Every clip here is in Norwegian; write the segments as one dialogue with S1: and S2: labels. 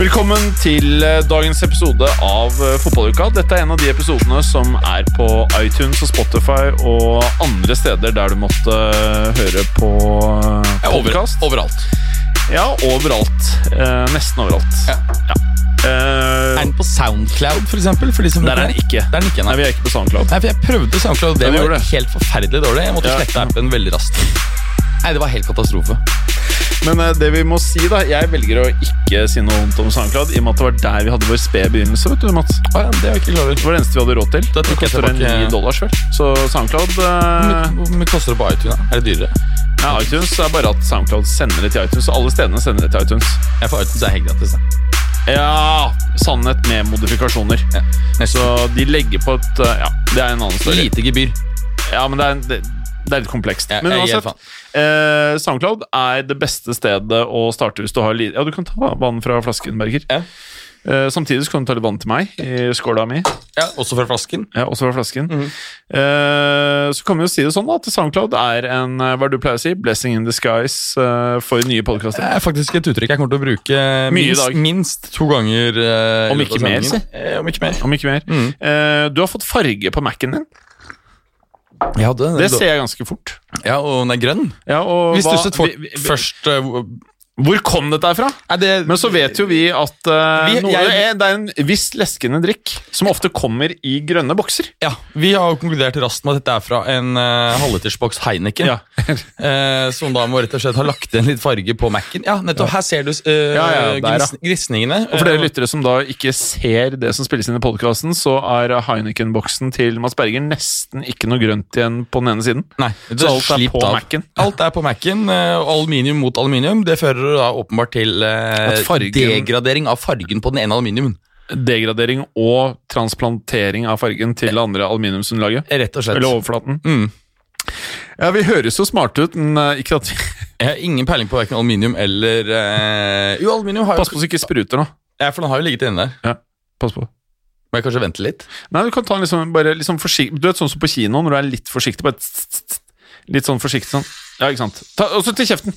S1: Velkommen til eh, dagens episode av eh, Fotballuka. Dette er en av de episodene som er på iTunes og Spotify og andre steder der du måtte eh, høre på eh, podcast.
S2: overalt.
S1: Ja, overalt. Eh, nesten overalt.
S2: Ja.
S1: Eh,
S2: Er den på Soundcloud, for eksempel? For de som
S1: der
S2: bruker
S1: er den ikke.
S2: Der er den ikke,
S1: Nei,
S2: nei.
S1: vi er ikke på SoundCloud.
S2: Nei, for jeg prøvde Soundcloud, det
S1: Ja, du
S2: var
S1: gjorde det.
S2: helt forferdelig dårlig. Jeg måtte
S1: Ja.
S2: slette appen veldig raskt. Nei, det var helt katastrofe.
S1: Men eh, det vi må si, da Jeg velger å ikke si noe vondt om SoundCloud, i og med at det var der vi hadde vår spede begynnelse, vet du, Mats.
S2: Å, ja, det var ikke klar
S1: Det var det eneste vi hadde råd til.
S2: Da tok jeg
S1: koster en
S2: tilbake-
S1: 9 dollars, vel. Så SoundCloud eh,
S2: Hvor hvor mye koster det på iTunes? da? Er det dyrere?
S1: Ja, iTunes er bare at SoundCloud sender det til iTunes, og alle stedene sender det til iTunes.
S2: Jeg får iTunes, det er helt gratis. da.
S1: Ja, sannhet med modifikasjoner.
S2: Ja.
S1: Så
S2: Nesten.
S1: de legger på et uh, Ja, det er en annen story.
S2: Lite gebyr.
S1: Ja, men det er, det, det er litt komplekst.
S2: Jeg-
S1: Men
S2: jeg gir
S1: uansett, eh, SoundCloud er det beste stedet å starte hvis du har lite Ja, du kan ta vann fra flasken, Berger.
S2: Ja.
S1: Eh, samtidig så kan du ta litt vann til meg i skåla mi.
S2: Ja, Også fra flasken.
S1: Ja, også fra flasken.
S2: Mhm.
S1: Eh, så kan vi jo si det sånn da, at SoundCloud er en eh, hva er det du pleier å si, blessing in disguise eh, for nye podkaster.
S2: Det er faktisk et uttrykk jeg kommer til å bruke
S1: Mye i
S2: minst,
S1: dag.
S2: minst to ganger. eh, i
S1: Om
S2: løpet
S1: ikke
S2: av
S1: mer,
S2: sendingen.
S1: si.
S2: Eh, om ikke mer.
S1: Om ikke mer.
S2: Mhm.
S1: Eh, du har fått farge på Mac-en din.
S2: Jeg hadde
S1: Det ser jeg ganske fort.
S2: Ja, og den er grønn.
S1: Ja, og
S2: Vi
S1: hva-
S2: stusset fort
S1: vi- vi-
S2: først eh, hvor-
S1: Hvor kom dette her fra?
S2: Nei, det-
S1: Men så vet jo vi at eh,
S2: Vi-
S1: noe,
S2: jeg-
S1: det, er, det er en viss leskende drikk som ofte kommer i grønne bokser.
S2: Ja, Vi har jo konkludert raskt med at dette er fra en uh, halvlitersboks Heineken.
S1: Ja.
S2: eh, som da må rett og slett ha lagt igjen litt farge på Mac-en. Ja, nettopp. Her ser du eh,
S1: Ja, ja, der, ja.
S2: gris, grisningene.
S1: Og for dere lyttere som da ikke ser det som spilles inn i podkasten, så er Heineken-boksen til Mads Berger nesten ikke noe grønt igjen på den ene siden.
S2: Nei,
S1: Så alt er
S2: slipt
S1: på
S2: av.
S1: Mac-en.
S2: Alt er på Mac-en. eh, og aluminium mot aluminium. Det fører da åpenbart til eh,
S1: At fargen-
S2: degradering av fargen på den ene aluminiumen.
S1: Degradering og transplantering av fargen til det andre aluminiumsunderlaget.
S2: Rett og slett.
S1: Eller overflaten.
S2: Mm.
S1: Ja, vi høres jo smarte ut, men eh, ikke at vi
S2: Jeg har ingen peiling på verken aluminium eller eh, Jo, aluminium har jo
S1: Pass på så ikke spruter nå.
S2: Ja, for den har jo ligget inne der.
S1: Ja, pass på.
S2: Må jeg kanskje vente litt?
S1: Nei, du kan ta den liksom, bare liksom forsiktig Du vet sånn som på kino, når du er litt forsiktig bare tss, tss, tss. Litt sånn forsiktig sånn. Ja, ikke sant. Ta, og så til kjeften.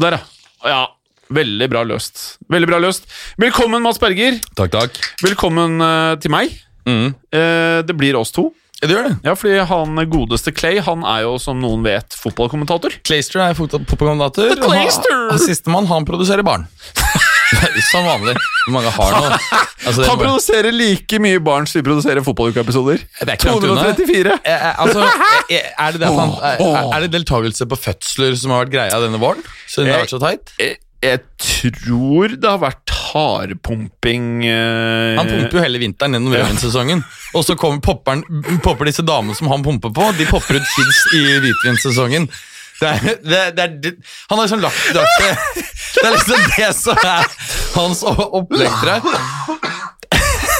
S1: Der, ja. Ja, veldig bra løst. Veldig bra løst. Velkommen, Mads Berger.
S2: Takk, takk.
S1: Velkommen eh, til meg.
S2: Mm.
S1: Eh, det blir oss to.
S2: Ja, det gjør det.
S1: Ja, fordi han godeste Clay, han er jo, som noen vet, fotballkommentator.
S2: Clayster er fotballkommentator.
S1: The Clayster!
S2: og han- Sistemann, han produserer barn. Som vanlig. Hvor mange har nå? Altså, det, er
S1: Han
S2: bare-
S1: produserer like mye barn som vi produserer fotballukeepisoder.
S2: det er ikke langt unna.
S1: 234.
S2: Eh, eh, altså, eh, eh, er, det det at han, er, er det deltakelse på fødsler som har vært greia denne våren? Siden det har vært så teit?
S1: Jeg, jeg tror det har vært hardpumping eh,
S2: Han pumper jo hele vinteren gjennom rødvinssesongen. Og så kommer popperen, popper disse damene som han pumper på, de popper ut kids i hvitvinssesongen. Det er, det, er- det er, det, han har liksom lagt det opp til Det er liksom det som er hans o- opplegg til deg.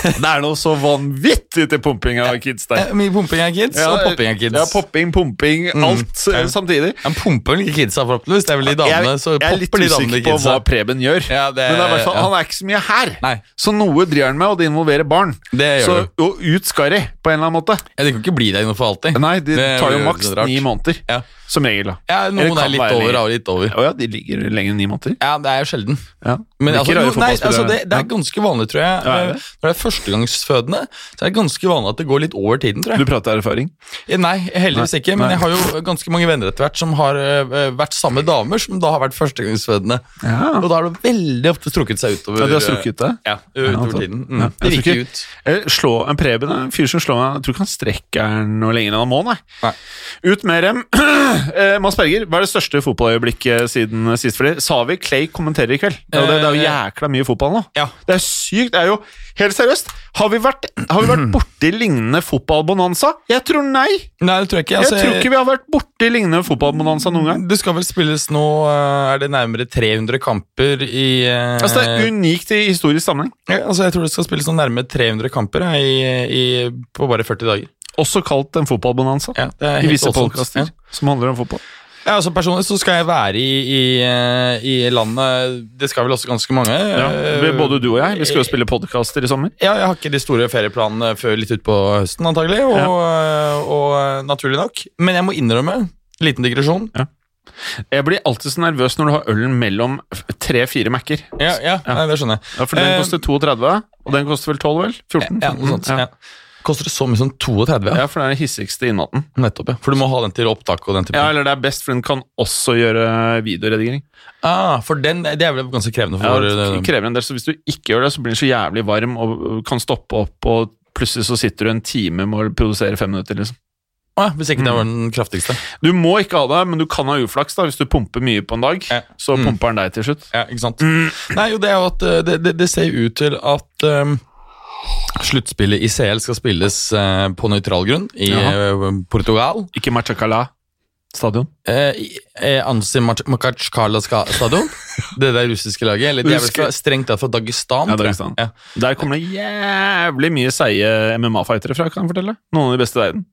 S1: Det er noe så vanvittig til pumping av kids der.
S2: Eh, Mye pumping av kids og popping av kids. Mm.
S1: Ja, popping, pumping, alt eh, samtidig.
S2: Han pumper vel ikke kidsa, forhåpentligvis. Det er vel de damene,
S1: Jeg,
S2: så
S1: jeg er litt
S2: popper de damene
S1: usikker på
S2: kidsa.
S1: hva Preben gjør,
S2: Ja, det-
S1: men det er i hvert fall,
S2: ja.
S1: han er ikke så mye her.
S2: Nei.
S1: Så noe driver han med, og det involverer barn.
S2: Det
S1: så
S2: gjør
S1: og ut skal de, på en eller annen måte.
S2: Ja, de kan ikke bli der inne for alltid.
S1: Nei, de
S2: Det
S1: tar jo
S2: gjør
S1: maks
S2: det rart.
S1: ni måneder,
S2: Ja.
S1: som regel. da.
S2: Ja,
S1: Eller
S2: noen
S1: kan
S2: er litt
S1: være
S2: over
S1: lenger.
S2: og litt over.
S1: Å ja, de ligger lenger enn ni måneder.
S2: Ja, det er sjelden.
S1: Ja.
S2: Men
S1: Hvilke
S2: altså, jo,
S1: rare
S2: nei,
S1: fotballspillere
S2: altså
S1: er
S2: det,
S1: det?
S2: det er ganske vanlig, tror jeg.
S1: Ja, er det?
S2: Eh, Når det er førstegangsfødende, så er det ganske vanlig at det går litt over tiden, tror
S1: Du
S2: jeg.
S1: prater erfaring?
S2: Eh, Nei, heldigvis
S1: Nei,
S2: ikke, men
S1: nei.
S2: jeg har jo ganske mange venner etter hvert som har eh, vært samme damer som da har vært førstegangsfødende.
S1: Ja.
S2: Og da har det veldig ofte strukket seg utover eh,
S1: Ja, de har strukket det?
S2: Ja, utover
S1: altså.
S2: tiden.
S1: Ja,
S2: Mm.
S1: jeg
S2: Det
S1: tror
S2: virker
S1: ikke-
S2: ut.
S1: Eh, Slå en Preben er en fyr som slår Jeg tror ikke han strekker den noe lenger enn han må, nei.
S2: Nei.
S1: Ut med dem. Eh, Mads Berger, hva er det største fotballøyeblikket siden sist for dere? Sa vi Clay kommenterer i kveld? Det er, jo det, det er jo jækla mye fotball nå.
S2: Eh, Ja.
S1: Det er sykt. Det er jo Helt seriøst, har vi vært, har vi vært borti lignende fotballbonanza? Jeg tror nei.
S2: Nei, det tror jeg ikke.
S1: Jeg
S2: Altså,
S1: tror ikke vi har vært borti lignende fotballbonanza noen gang.
S2: Det skal vel spilles nå eh, Er det nærmere 300 kamper i eh,
S1: Altså, det er unikt i historisk sammenheng.
S2: ja, altså, Jeg tror det skal spilles nå nærmere 300 kamper eh, i, i, på bare 40 dager.
S1: Også kalt en fotballbonanza.
S2: Ja, det er
S1: I
S2: helt
S1: visse
S2: voldsomt.
S1: podkaster
S2: Ja.
S1: som handler om fotball.
S2: Ja, altså Personlig så skal jeg være i, i, eh, i landet Det skal vel også ganske mange.
S1: Ja,
S2: eh,
S1: både du og jeg. Vi skal jo spille podkaster i sommer.
S2: Ja, jeg har ikke de store ferieplanene før litt utpå høsten, antagelig. Og, og, eh, naturlig nok. Men jeg må innrømme, liten digresjon
S1: Jeg blir alltid så nervøs når du har ølen mellom tre-fire Mac-er.
S2: Ja, ja, Nei, det skjønner jeg.
S1: Ja, for den
S2: Eh,
S1: koster 32, og den koster vel 12, vel? 14?
S2: Ja, noe sånt.
S1: Ja.
S2: Ja. Koster det så mye som 32?
S1: Ja,
S2: Ja.
S1: for det er den hissigste innmaten.
S2: Nettopp, ja. For du må ha den til opptak og den typen.
S1: Ja, eller det er best, for den kan også gjøre videoredigering.
S2: Ah, for den, det er vel ganske krevende
S1: Ja,
S2: for eh,
S1: det krever en del, så hvis du ikke gjør det, så blir den så jævlig varm og kan stoppe opp, og plutselig så sitter du en time med å produsere fem minutter, liksom.
S2: ah, Hvis ikke det var den kraftigste.
S1: Du må ikke ha det, men du kan ha uflaks, da. Hvis du pumper mye på en dag,
S2: Ja.
S1: så
S2: Mm.
S1: pumper den deg til slutt.
S2: Ja, ikke sant? Mm. Nei, jo, det er jo at eh, det, det, det ser jo ut til at eh, Sluttspillet i CL skal spilles eh, på nøytral grunn i
S1: Jaha.
S2: eh, Portugal.
S1: Ikke Machacala stadion.
S2: Eh, i- eh, Ansi Mach- Makhatskala ska- stadion. Det der russiske laget. Eller de er vel
S1: Husker-
S2: fra, strengt tatt fra Dagestan.
S1: Ja,
S2: tror jeg.
S1: Dagestan.
S2: Ja.
S1: Der kommer det jævlig mye seige MMA-fightere fra, kan jeg fortelle. Noen av de beste i verden.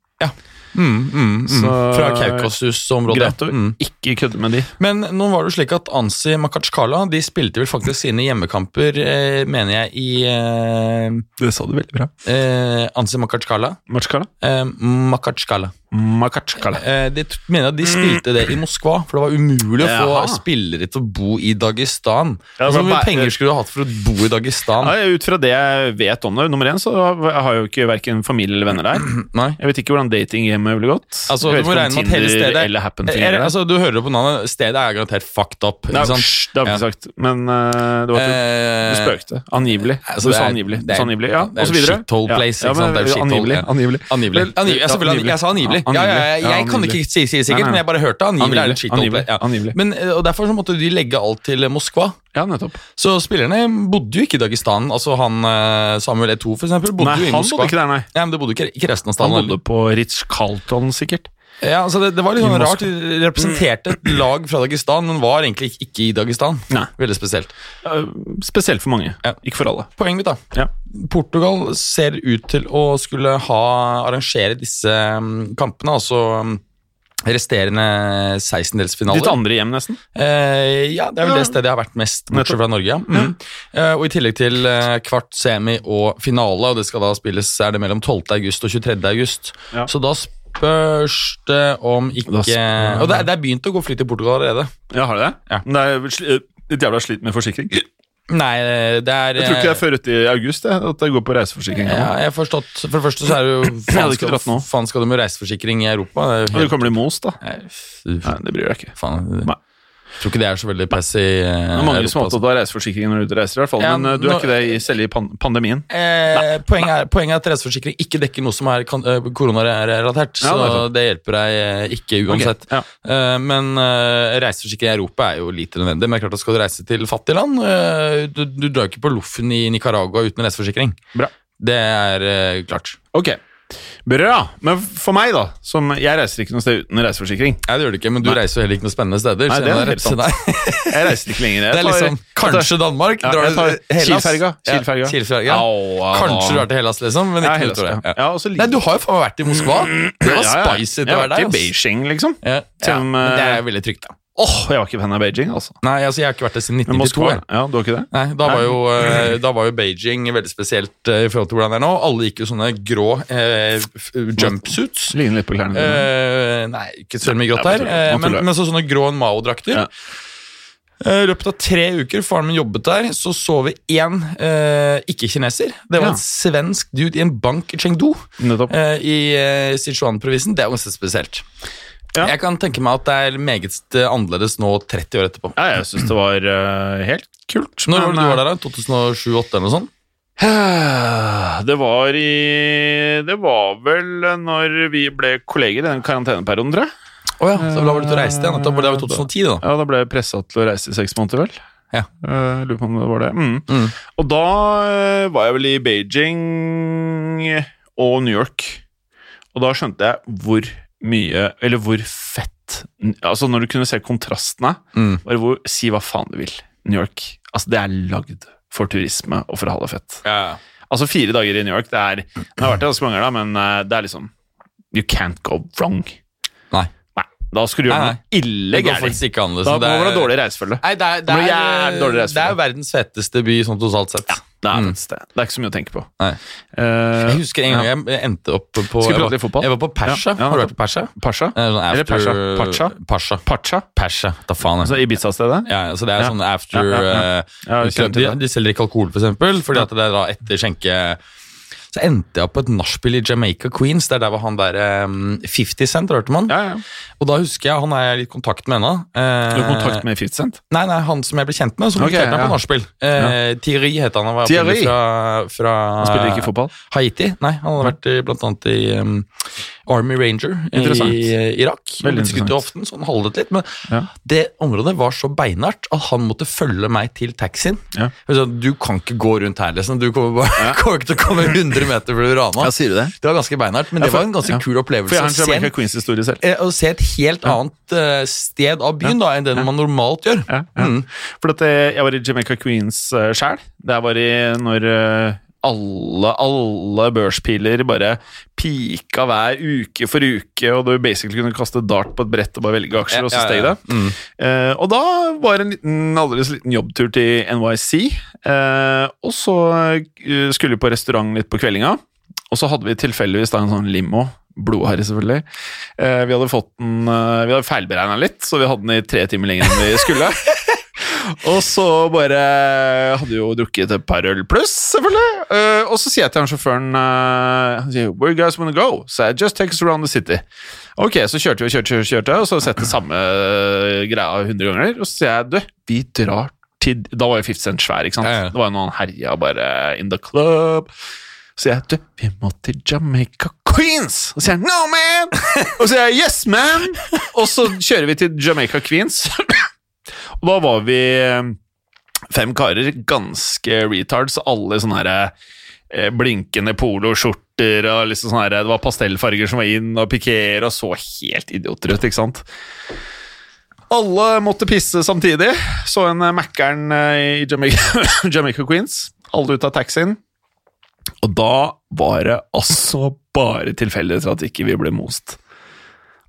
S2: Mm, mm, mm.
S1: Så-
S2: fra Kaukasus-området.
S1: Greit å
S2: Mm.
S1: ikke kødde med de.
S2: Men nå var det jo slik at Ansi Makhatskala de spilte vel faktisk sine hjemmekamper, eh, mener jeg, i eh,
S1: Det sa du veldig bra.
S2: eh, Ansi Makhatskala.
S1: Machacala?
S2: Eh, Makhatskala.
S1: Machacala.
S2: Eh, de t- mener at de spilte det i Moskva, for det var umulig å få
S1: Jaha.
S2: spillere til å bo i Dagestan. Så
S1: Ja, for
S2: Hvor mye
S1: ba-
S2: penger skulle du hatt for å bo i Dagestan?
S1: Ja, ut fra det jeg vet om det, nummer én, så har jeg jo ikke hverken familie eller venner der.
S2: Nei.
S1: Jeg vet ikke hvordan datinghjemmet ville gått.
S2: Altså, du
S1: jeg vet
S2: må
S1: ikke om
S2: regne med at hele
S1: Tinder
S2: stedet
S1: eller Happen
S2: er,
S1: fungerer
S2: er,
S1: der.
S2: altså, Du hører det på navnet, stedet er garantert fucked up.
S1: Nei,
S2: Ikke sant?
S1: psj, det har vi ikke sagt, men eh, det var ikke Du
S2: Eh,
S1: spøkte. Angivelig.
S2: Altså,
S1: du
S2: det
S1: sa
S2: er-
S1: angivelig.
S2: det
S1: Du
S2: er-
S1: sa angivelig. Ja,
S2: det er
S1: og så
S2: jo
S1: videre.
S2: shithole place, ikke sant? Det er jo shithole,
S1: angivelig.
S2: ja.
S1: Angivelig.
S2: Angivelig.
S1: Vel,
S2: angivelig. Jeg, selvfølgelig, jeg sa angivelig.
S1: Ja,
S2: Ja, ja, ja, jeg,
S1: Ja,
S2: jeg kan
S1: angivelig.
S2: ikke si si sikkert,
S1: Nei, nei.
S2: men jeg bare hørte angivelig er
S1: Angivelig,
S2: en shithole.
S1: angivelig,
S2: ja.
S1: angivelig.
S2: Men, eh, og Derfor så måtte de legge alt til eh, Moskva.
S1: Ja, nettopp.
S2: Så spillerne bodde jo ikke i Dagestan. Altså han eh, Samuel E2 for eksempel, bodde
S1: Nei,
S2: jo i
S1: han
S2: Moskva.
S1: bodde ikke der, nei.
S2: Nei, men det bodde ikke, ikke resten av
S1: Han
S2: staden.
S1: bodde på Ritz-Carlton, sikkert.
S2: Ja, altså det, det var litt
S1: I
S2: sånn
S1: Moskva.
S2: rart. De representerte et lag fra Dagestan, men var egentlig ikke- ikke i Dagestan.
S1: Nei.
S2: Veldig spesielt.
S1: Eh, Spesielt for mange.
S2: Ja.
S1: Ikke for alle.
S2: Poenget mitt, da.
S1: Ja.
S2: Portugal ser ut til å skulle ha arrangere disse mm, kampene, altså mm, resterende
S1: Ditt
S2: 16-delsfinaler.
S1: andre hjem, nesten.
S2: Eh, ja, det er vel det stedet jeg har vært mest, bortsett fra Norge. ja. Mm. Eh, og I tillegg til eh, kvart, semi og finale, og det skal da spilles er det mellom 12. august og 23. august.
S1: Ja.
S2: Så da spørs det om ikke
S1: Da spør-
S2: Og det er, det er begynt å gå fly til Portugal allerede.
S1: Ja, har du det?
S2: Ja.
S1: Men Det er sli- eh, et jævla slit med forsikring. Jeg
S2: Nei, det er
S1: tror ikke det
S2: eh,
S1: er før uti august jeg, at det går på reiseforsikring.
S2: Ja, jeg har forstått. For det første så er det jo
S1: hadde
S2: Faen
S1: ikke
S2: skal,
S1: dratt nå.
S2: faen skal du med reiseforsikring i Europa? Det er
S1: Og
S2: jo
S1: du kan bli most, da.
S2: helt,
S1: Nei, det bryr jeg ikke.
S2: faen,
S1: Nei.
S2: jeg tror ikke det er så veldig press i eh,
S1: Det er mange som er
S2: Europa. altså.
S1: opptatt av reiseforsikring når du er ute og reiser, i hvert fall.
S2: Ja,
S1: Men eh, du er
S2: nå-
S1: ikke det i- selv i pan- pandemien.
S2: Eh, poenget, er, poenget er at reiseforsikring ikke dekker noe som er kan- eh, koronarelatert.
S1: Ja, det
S2: så
S1: er sant.
S2: det hjelper deg eh, ikke
S1: Ok,
S2: uansett.
S1: Ja.
S2: Eh, men eh, reiseforsikring i Europa er jo lite nødvendig. Men det er klart at skal du reise til fattige land eh, du, du drar jo ikke på loffen i Nicaragua uten reiseforsikring.
S1: Bra.
S2: Det er eh, klart.
S1: Ok, bra. Men for meg, da, som jeg reiser ikke noe sted uten reiseforsikring
S2: Nei, det gjør du ikke, men du
S1: Nei.
S2: reiser jo heller ikke noen spennende steder.
S1: Nei,
S2: så
S1: det
S2: jeg
S1: er
S2: må
S1: helt
S2: rette
S1: sant.
S2: deg.
S1: Jeg reiser ikke lenger. Jeg
S2: Det er
S1: tar-
S2: liksom Kanskje Danmark?
S1: Ja,
S2: drar
S1: jeg tar
S2: du til Hellas?
S1: Kielferga.
S2: Ja,
S1: Kielferga.
S2: Kielferga.
S1: Au, au,
S2: Kanskje du
S1: au.
S2: drar til Hellas, liksom, men
S1: Ja,
S2: ikke
S1: helt
S2: utover det.
S1: ja.
S2: Ja.
S1: Ja, og så
S2: Nei,
S1: liker-
S2: du har jo faen meg vært i Moskva! Det var
S1: Ja, ja.
S2: spicy til å
S1: Jeg
S2: være
S1: var
S2: der.
S1: ikke i
S2: ass.
S1: Beijing, liksom.
S2: Ja,
S1: Til
S2: ja,
S1: og
S2: men
S1: med-
S2: det er jo veldig trygt, da.
S1: Åh, jeg var ikke fan av Beijing, altså.
S2: Nei, altså, jeg har ikke vært der siden
S1: Men
S2: 1992.
S1: Moskva
S2: jeg.
S1: Ja, du var ikke det?
S2: Nei, da var, jo, eh, da var jo Beijing veldig spesielt eh, i forhold til hvordan det er nå. Alle gikk jo sånne grå eh, f- jumpsuits.
S1: Ligner litt på klærne dine.
S2: Eh, nei, ikke så mye grått
S1: Ja,
S2: her,
S1: man tuller.
S2: eh,
S1: Man
S2: men,
S1: tuller.
S2: men så sånne grå Mao-drakter.
S1: Ja.
S2: Eh, I løpet av tre uker faren min jobbet der, så så vi én eh, ikke-kineser. Det var
S1: Ja.
S2: en svensk dude i en bank i Chengdu
S1: Nettopp.
S2: eh, i eh, Sichuan-provisen. Det er jo ganske spesielt.
S1: Ja.
S2: Jeg kan tenke meg at det er meget eh, annerledes nå 30 år etterpå.
S1: Ja, jeg syns det var eh, helt kult.
S2: Når var
S1: men,
S2: det du var der, da? 2007-2008 eller noe sånt?
S1: eh, Det var i Det var vel eh, når vi ble kolleger i den karanteneperioden, tror jeg.
S2: Å ja, så da var du ute og reiste igjen. etterpå. Det var jo 2010, det da.
S1: Ja, da ble jeg pressa til å reise i seks måneder, vel.
S2: Ja.
S1: Eh, lurer på om det var det. Mm.
S2: Mm.
S1: Og da eh, var jeg vel i Beijing og New York. Og da skjønte jeg hvor mye Eller hvor fett Altså Når du kunne se kontrastene
S2: Mm.
S1: bare hvor, Si hva faen du vil. New York. Altså Det er lagd for turisme og for å ha det fett.
S2: Ja,
S1: Altså Fire dager i New York det er, Det har vært ganske mange ganger, da, men eh, det er liksom You can't go wrong.
S2: Nei.
S1: Nei, Da skulle du gjøre
S2: Nei, nei.
S1: noe ille
S2: Det går
S1: gærent.
S2: faktisk ikke an.
S1: Da
S2: Liksom.
S1: må det være dårlig reisefølge.
S2: Nei, det er, det,
S1: Det blir
S2: er,
S1: jævlig dårlig reise
S2: det er
S1: for
S2: jo verdens fetteste by, sånn totalt sett.
S1: Det er, faktisk det. det er ikke så mye å tenke på.
S2: Nei.
S1: Eh,
S2: Jeg husker en gang jeg- jeg endte opp på
S1: Skal vi
S2: jeg
S1: prate
S2: var-
S1: litt fotball?
S2: Jeg var på Persia.
S1: Ja, ja,
S2: Har du vært på Persia?
S1: Pasha?
S2: Det er sånn
S1: Eller
S2: after-
S1: Persia? Pacha?
S2: Pasha.
S1: Pacha?
S2: Persia. Da faen, jeg.
S1: Altså Ibiza-stedet?
S2: Ja, ja, så det er
S1: Ja.
S2: sånn after
S1: Ja, ja, ja. Ja,
S2: eh,
S1: jeg kjenner til
S2: de, de selger ikke alkohol, for eksempel, fordi at det er da etter skjenke Så endte jeg opp på et nachspiel i Jamaica Queens. Det er der hvor han der eh, 50 Cent, har du hørt om han?
S1: Ja, ja.
S2: Og da husker jeg, han er jeg litt i kontakt med ennå. eh,
S1: Du har kontakt med 50 Cent?
S2: Nei, nei, han som jeg ble kjent med, som
S1: Ok,
S2: okay, meg
S1: ja.
S2: på nachspiel. Eh, Thierry het han. Han var
S1: Thierry?
S2: opprinnelig fra, fra
S1: Han spiller ikke fotball?
S2: Haiti. Nei, han hadde vært i, blant annet i um, Army Ranger i
S1: Interessant.
S2: eh, Irak.
S1: Veldig
S2: Han ble skutt i
S1: interessant.
S2: hoften, så han haldet litt. Men
S1: Ja.
S2: det området var så beinhardt at han måtte følge meg til taxien.
S1: Ja.
S2: Jeg sa, du kan ikke gå rundt her, liksom. Du kommer, bare, kommer ikke til å komme 100 meter før du rana.
S1: sier du det?
S2: Det var ganske beinhardt, men
S1: Ja,
S2: det
S1: for-
S2: var en ganske
S1: ja.
S2: kul opplevelse.
S1: For jeg har en
S2: Se en-
S1: Jamaica Queens-historie selv.
S2: eh, Å se et helt annet eh, sted av byen da, enn den man normalt gjør.
S1: Ja, ja. For at eh, jeg var i Jamaica Queens uh, sjæl. Der var i når eh, alle, alle børspiler bare pika hver uke for uke, og du basically kunne kaste dart på et brett og bare velge aksjer, og
S2: Ja,
S1: så
S2: ja,
S1: steg
S2: ja. Mm.
S1: det. Eh, og da var det en liten, aldeles liten jobbtur til NYC, eh, og så eh, skulle vi på restaurant litt på kveldinga, og så hadde vi tilfeldigvis da en sånn limo, blodharry selvfølgelig. Eh, vi hadde fått den, eh, vi hadde feilberegna litt, så vi hadde den i tre timer lenger enn vi skulle. Og så bare hadde vi jo drukket et par øl pluss, selvfølgelig. Eh, og så sier jeg til han sjåføren eh, han sier, Where you guys wanna go? So I just take us around the city. Ok, så kjørte vi og kjørte, kjørte, kjørte og så har jeg sett det samme eh, greia hundre ganger. Og så sier jeg, du, vi drar til Da var jo 50 Cent svær, ikke sant?
S2: Ja, ja.
S1: Det var jo noen herja bare in the club. Så sier jeg, du, vi må til Jamaica Queens! Og så sier jeg, no man! Og så sier jeg, yes man! Og så kjører vi til Jamaica Queens. Og da var vi eh, fem karer, ganske retards, alle i sånne her eh, blinkende poloskjorter og liksom sånne her, det var pastellfarger som var inn og pikéer og så helt idioter ut, ikke sant? Alle måtte pisse samtidig. Så en eh, Mækkern eh, i Jamaica, Jamaica Queens. Alle ut av taxien. Og da var det altså bare tilfeldigheter at ikke vi ble most.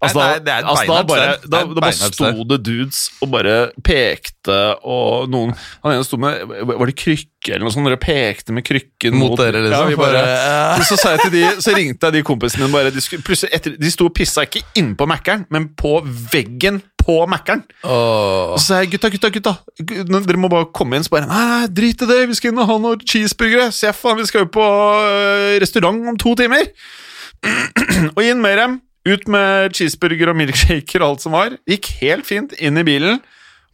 S1: Altså,
S2: Nei,
S1: da,
S2: nei, det er et
S1: altså, da,
S2: beinhardt
S1: bare,
S2: sted. Det er
S1: da,
S2: et
S1: da bare
S2: beinhardt sted.
S1: sto det dudes og bare pekte, og noen Han ene sto med Var det krykke eller noe sånt? Dere pekte med krykken
S2: Mot dere, liksom.
S1: Ja, vi
S2: Vi
S1: bare,
S2: bare,
S1: så, sa jeg til de, så ringte jeg de kompisene mine bare De, skulle, plutselig etter, de sto og pissa ikke innpå Mækkern, men på veggen på Mækkern.
S2: Åh.
S1: Og så sa jeg gutta, gutta, gutta, gu- nå- dere må bare komme inn. Så bare nei, nei, drit i det, vi skal inn og ha noen cheeseburgere. Se, faen, vi skal jo på øh, restaurant om to timer. og inn med dem. Ut med cheeseburger og milkshaker og alt som var. Gikk helt fint inn i bilen.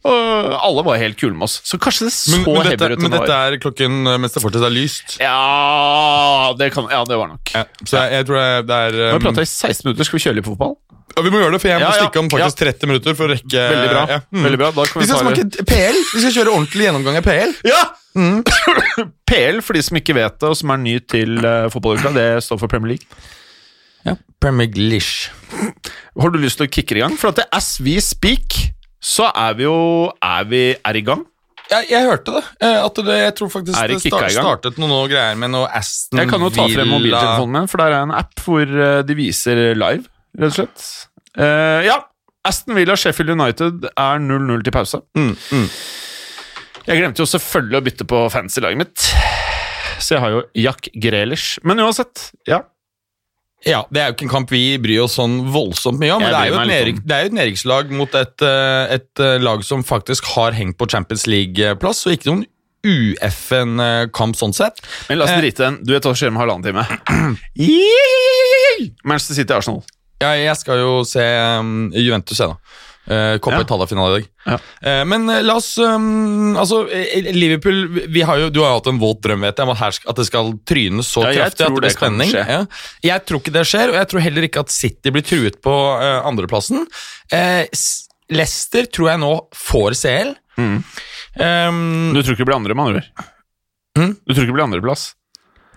S1: Og alle var helt kule med oss. Så kanskje det så
S2: Men, men, dette, men
S1: heavy ut. enn det
S2: dette
S1: var.
S2: er klokken eh, mens det fortsatt er lyst.
S1: Ja, det kan, ja, det var nok.
S2: Ja, så jeg, jeg tror det- det er
S1: Nå har
S2: um,
S1: vi prata i 16 minutter, skal vi kjøre litt på fotball?
S2: ja, Vi må gjøre det, for jeg må
S1: Ja, ja,
S2: stikke om faktisk 30 minutter for å rekke
S1: Veldig bra.
S2: Ja. Mm.
S1: Veldig bra. Da
S2: Vi
S1: kan vi,
S2: skal
S1: ta det-
S2: smake PL. Vi skal kjøre ordentlig gjennomgang av PL.
S1: Ja! PL, for de som ikke vet det, og som er ny til uh, fotballuka, det står for Premier League.
S2: Ja, Premier Glish.
S1: Har du lyst til å kicke i gang? For at det, as we speak, så er vi jo Er vi er i gang?
S2: Jeg, jeg hørte det. eh, At det. Jeg tror faktisk
S1: Er
S2: det,
S1: det kicka
S2: sta-
S1: i gang?
S2: startet noen noe greier med noe Aston
S1: Jeg kan jo
S2: Mm,
S1: ta frem mobiltelefonen min, for der er en app hvor eh, de viser live, rett og slett. Eh, ja. Aston Villa Sheffield United er 0-0 til pause. Jeg glemte jo selvfølgelig å bytte på fancy laget mitt, så jeg har jo Jack Grelish. Men uansett, ja.
S2: Ja, Det er jo ikke en kamp vi bryr oss sånn voldsomt mye om.
S1: Jeg
S2: Men det er, jo
S1: bryr
S2: et
S1: meg litt
S2: nedrykk, det er jo et nedrykkslag mot et, eh, et eh, lag som faktisk har hengt på Champions League-plass, og ikke noen UFN-kamp sånn sett.
S1: Men la oss
S2: Eh.
S1: drite i den. Du vet hva som skjer om halvannen time. Yay! Manchester City Arsenal.
S2: Ja, jeg skal jo se um, Juventus, jeg, da. Uh, Copa
S1: Ja.
S2: Italia-finale i dag.
S1: Ja.
S2: Eh, men eh, la oss um, Altså, eh, Liverpool vi- vi har jo, Du har jo hatt en våt drøm, vet jeg, om at, her, sk- at det skal tryne så
S1: Ja, jeg
S2: kraftig at det
S1: tror
S2: blir
S1: det kan
S2: spenning.
S1: skje.
S2: Ja. Jeg tror ikke det skjer, og jeg tror heller ikke at City blir truet på eh, andreplassen. Eh, S- Leicester tror jeg nå får CL. Um,
S1: Mm. Du tror ikke det blir andre, med andre ord?
S2: Mm.
S1: Du tror ikke det blir andreplass?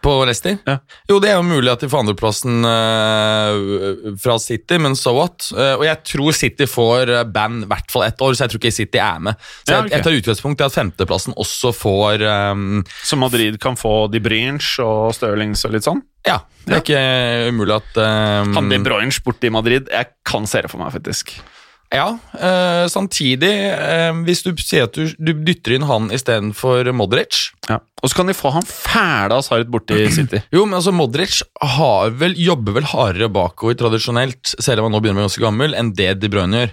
S2: På Leicester?
S1: Ja.
S2: Jo, det er jo mulig at de får andreplassen eh, fra City, men so what? Eh, og jeg tror City får eh, band i hvert fall ett år, så jeg tror ikke City er med. Så
S1: Ja,
S2: jeg,
S1: ok.
S2: jeg tar utgangspunkt i at femteplassen også får ehm,
S1: Så Madrid kan få De Bruyne og Stirlings og litt sånn?
S2: Ja, det er ikke umulig at ehm,
S1: Han De Bruyne borte i Madrid, jeg kan se det for meg, faktisk.
S2: Ja, eh, samtidig, eh, hvis du sier at du, du dytter inn han istedenfor Modric
S1: Ja. Og så kan de få han fæla Sarit borti City.
S2: Jo, men altså Modric har vel, jobber vel hardere bakover tradisjonelt, selv om han nå begynner å bli ganske gammel, enn det De Bruyne gjør.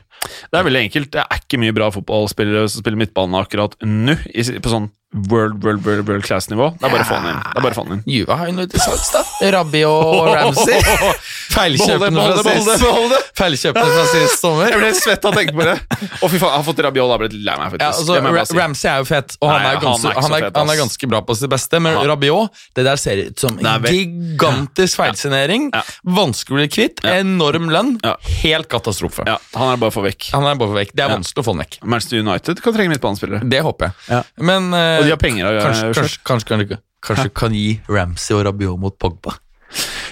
S1: Det er veldig enkelt. Det er ikke mye bra fotballspillere som spiller midtbane akkurat nå, i, på sånn world, world, world, world class-nivå. Det er bare å få han inn. Det er bare å få han inn.
S2: Juve har jo noe til salgs, da. Rabi og Ramsey.
S1: Behold det,
S2: Feilkjøpene
S1: behold det,
S2: fra
S1: behold det,
S2: sist
S1: behold det.
S2: Feilkjøpene fra sist sommer.
S1: Jeg ble svett av å tenke på det. Å, fy faen, jeg har fått Rabiot. Jeg har blitt lei meg, faktisk.
S2: Ja, altså,
S1: Det må jeg bare si.
S2: Ra- Ramsey er jo fett, og han
S1: Nei,
S2: er,
S1: han er
S2: ganske,
S1: ikke så
S2: han, er,
S1: fett, ass.
S2: han er ganske bra på sitt beste, men Rabiot Det der ser ut som
S1: er
S2: en
S1: ve-
S2: gigantisk feilsignering.
S1: Ja.
S2: Vanskelig å bli kvitt, enorm lønn.
S1: Ja.
S2: Helt katastrofe.
S1: Ja, han er bare for vekk.
S2: Han er bare vekk. Det er vanskelig å få han vekk.
S1: Manchester United kan trenge midtbanespillere.
S2: Det håper jeg.
S1: Ja.
S2: Men eh,
S1: Og de har penger av
S2: kanskje,
S1: eh,
S2: kanskje, kanskje, kan du- kanskje du kan gi Ramsey og Rabiot mot Pogba.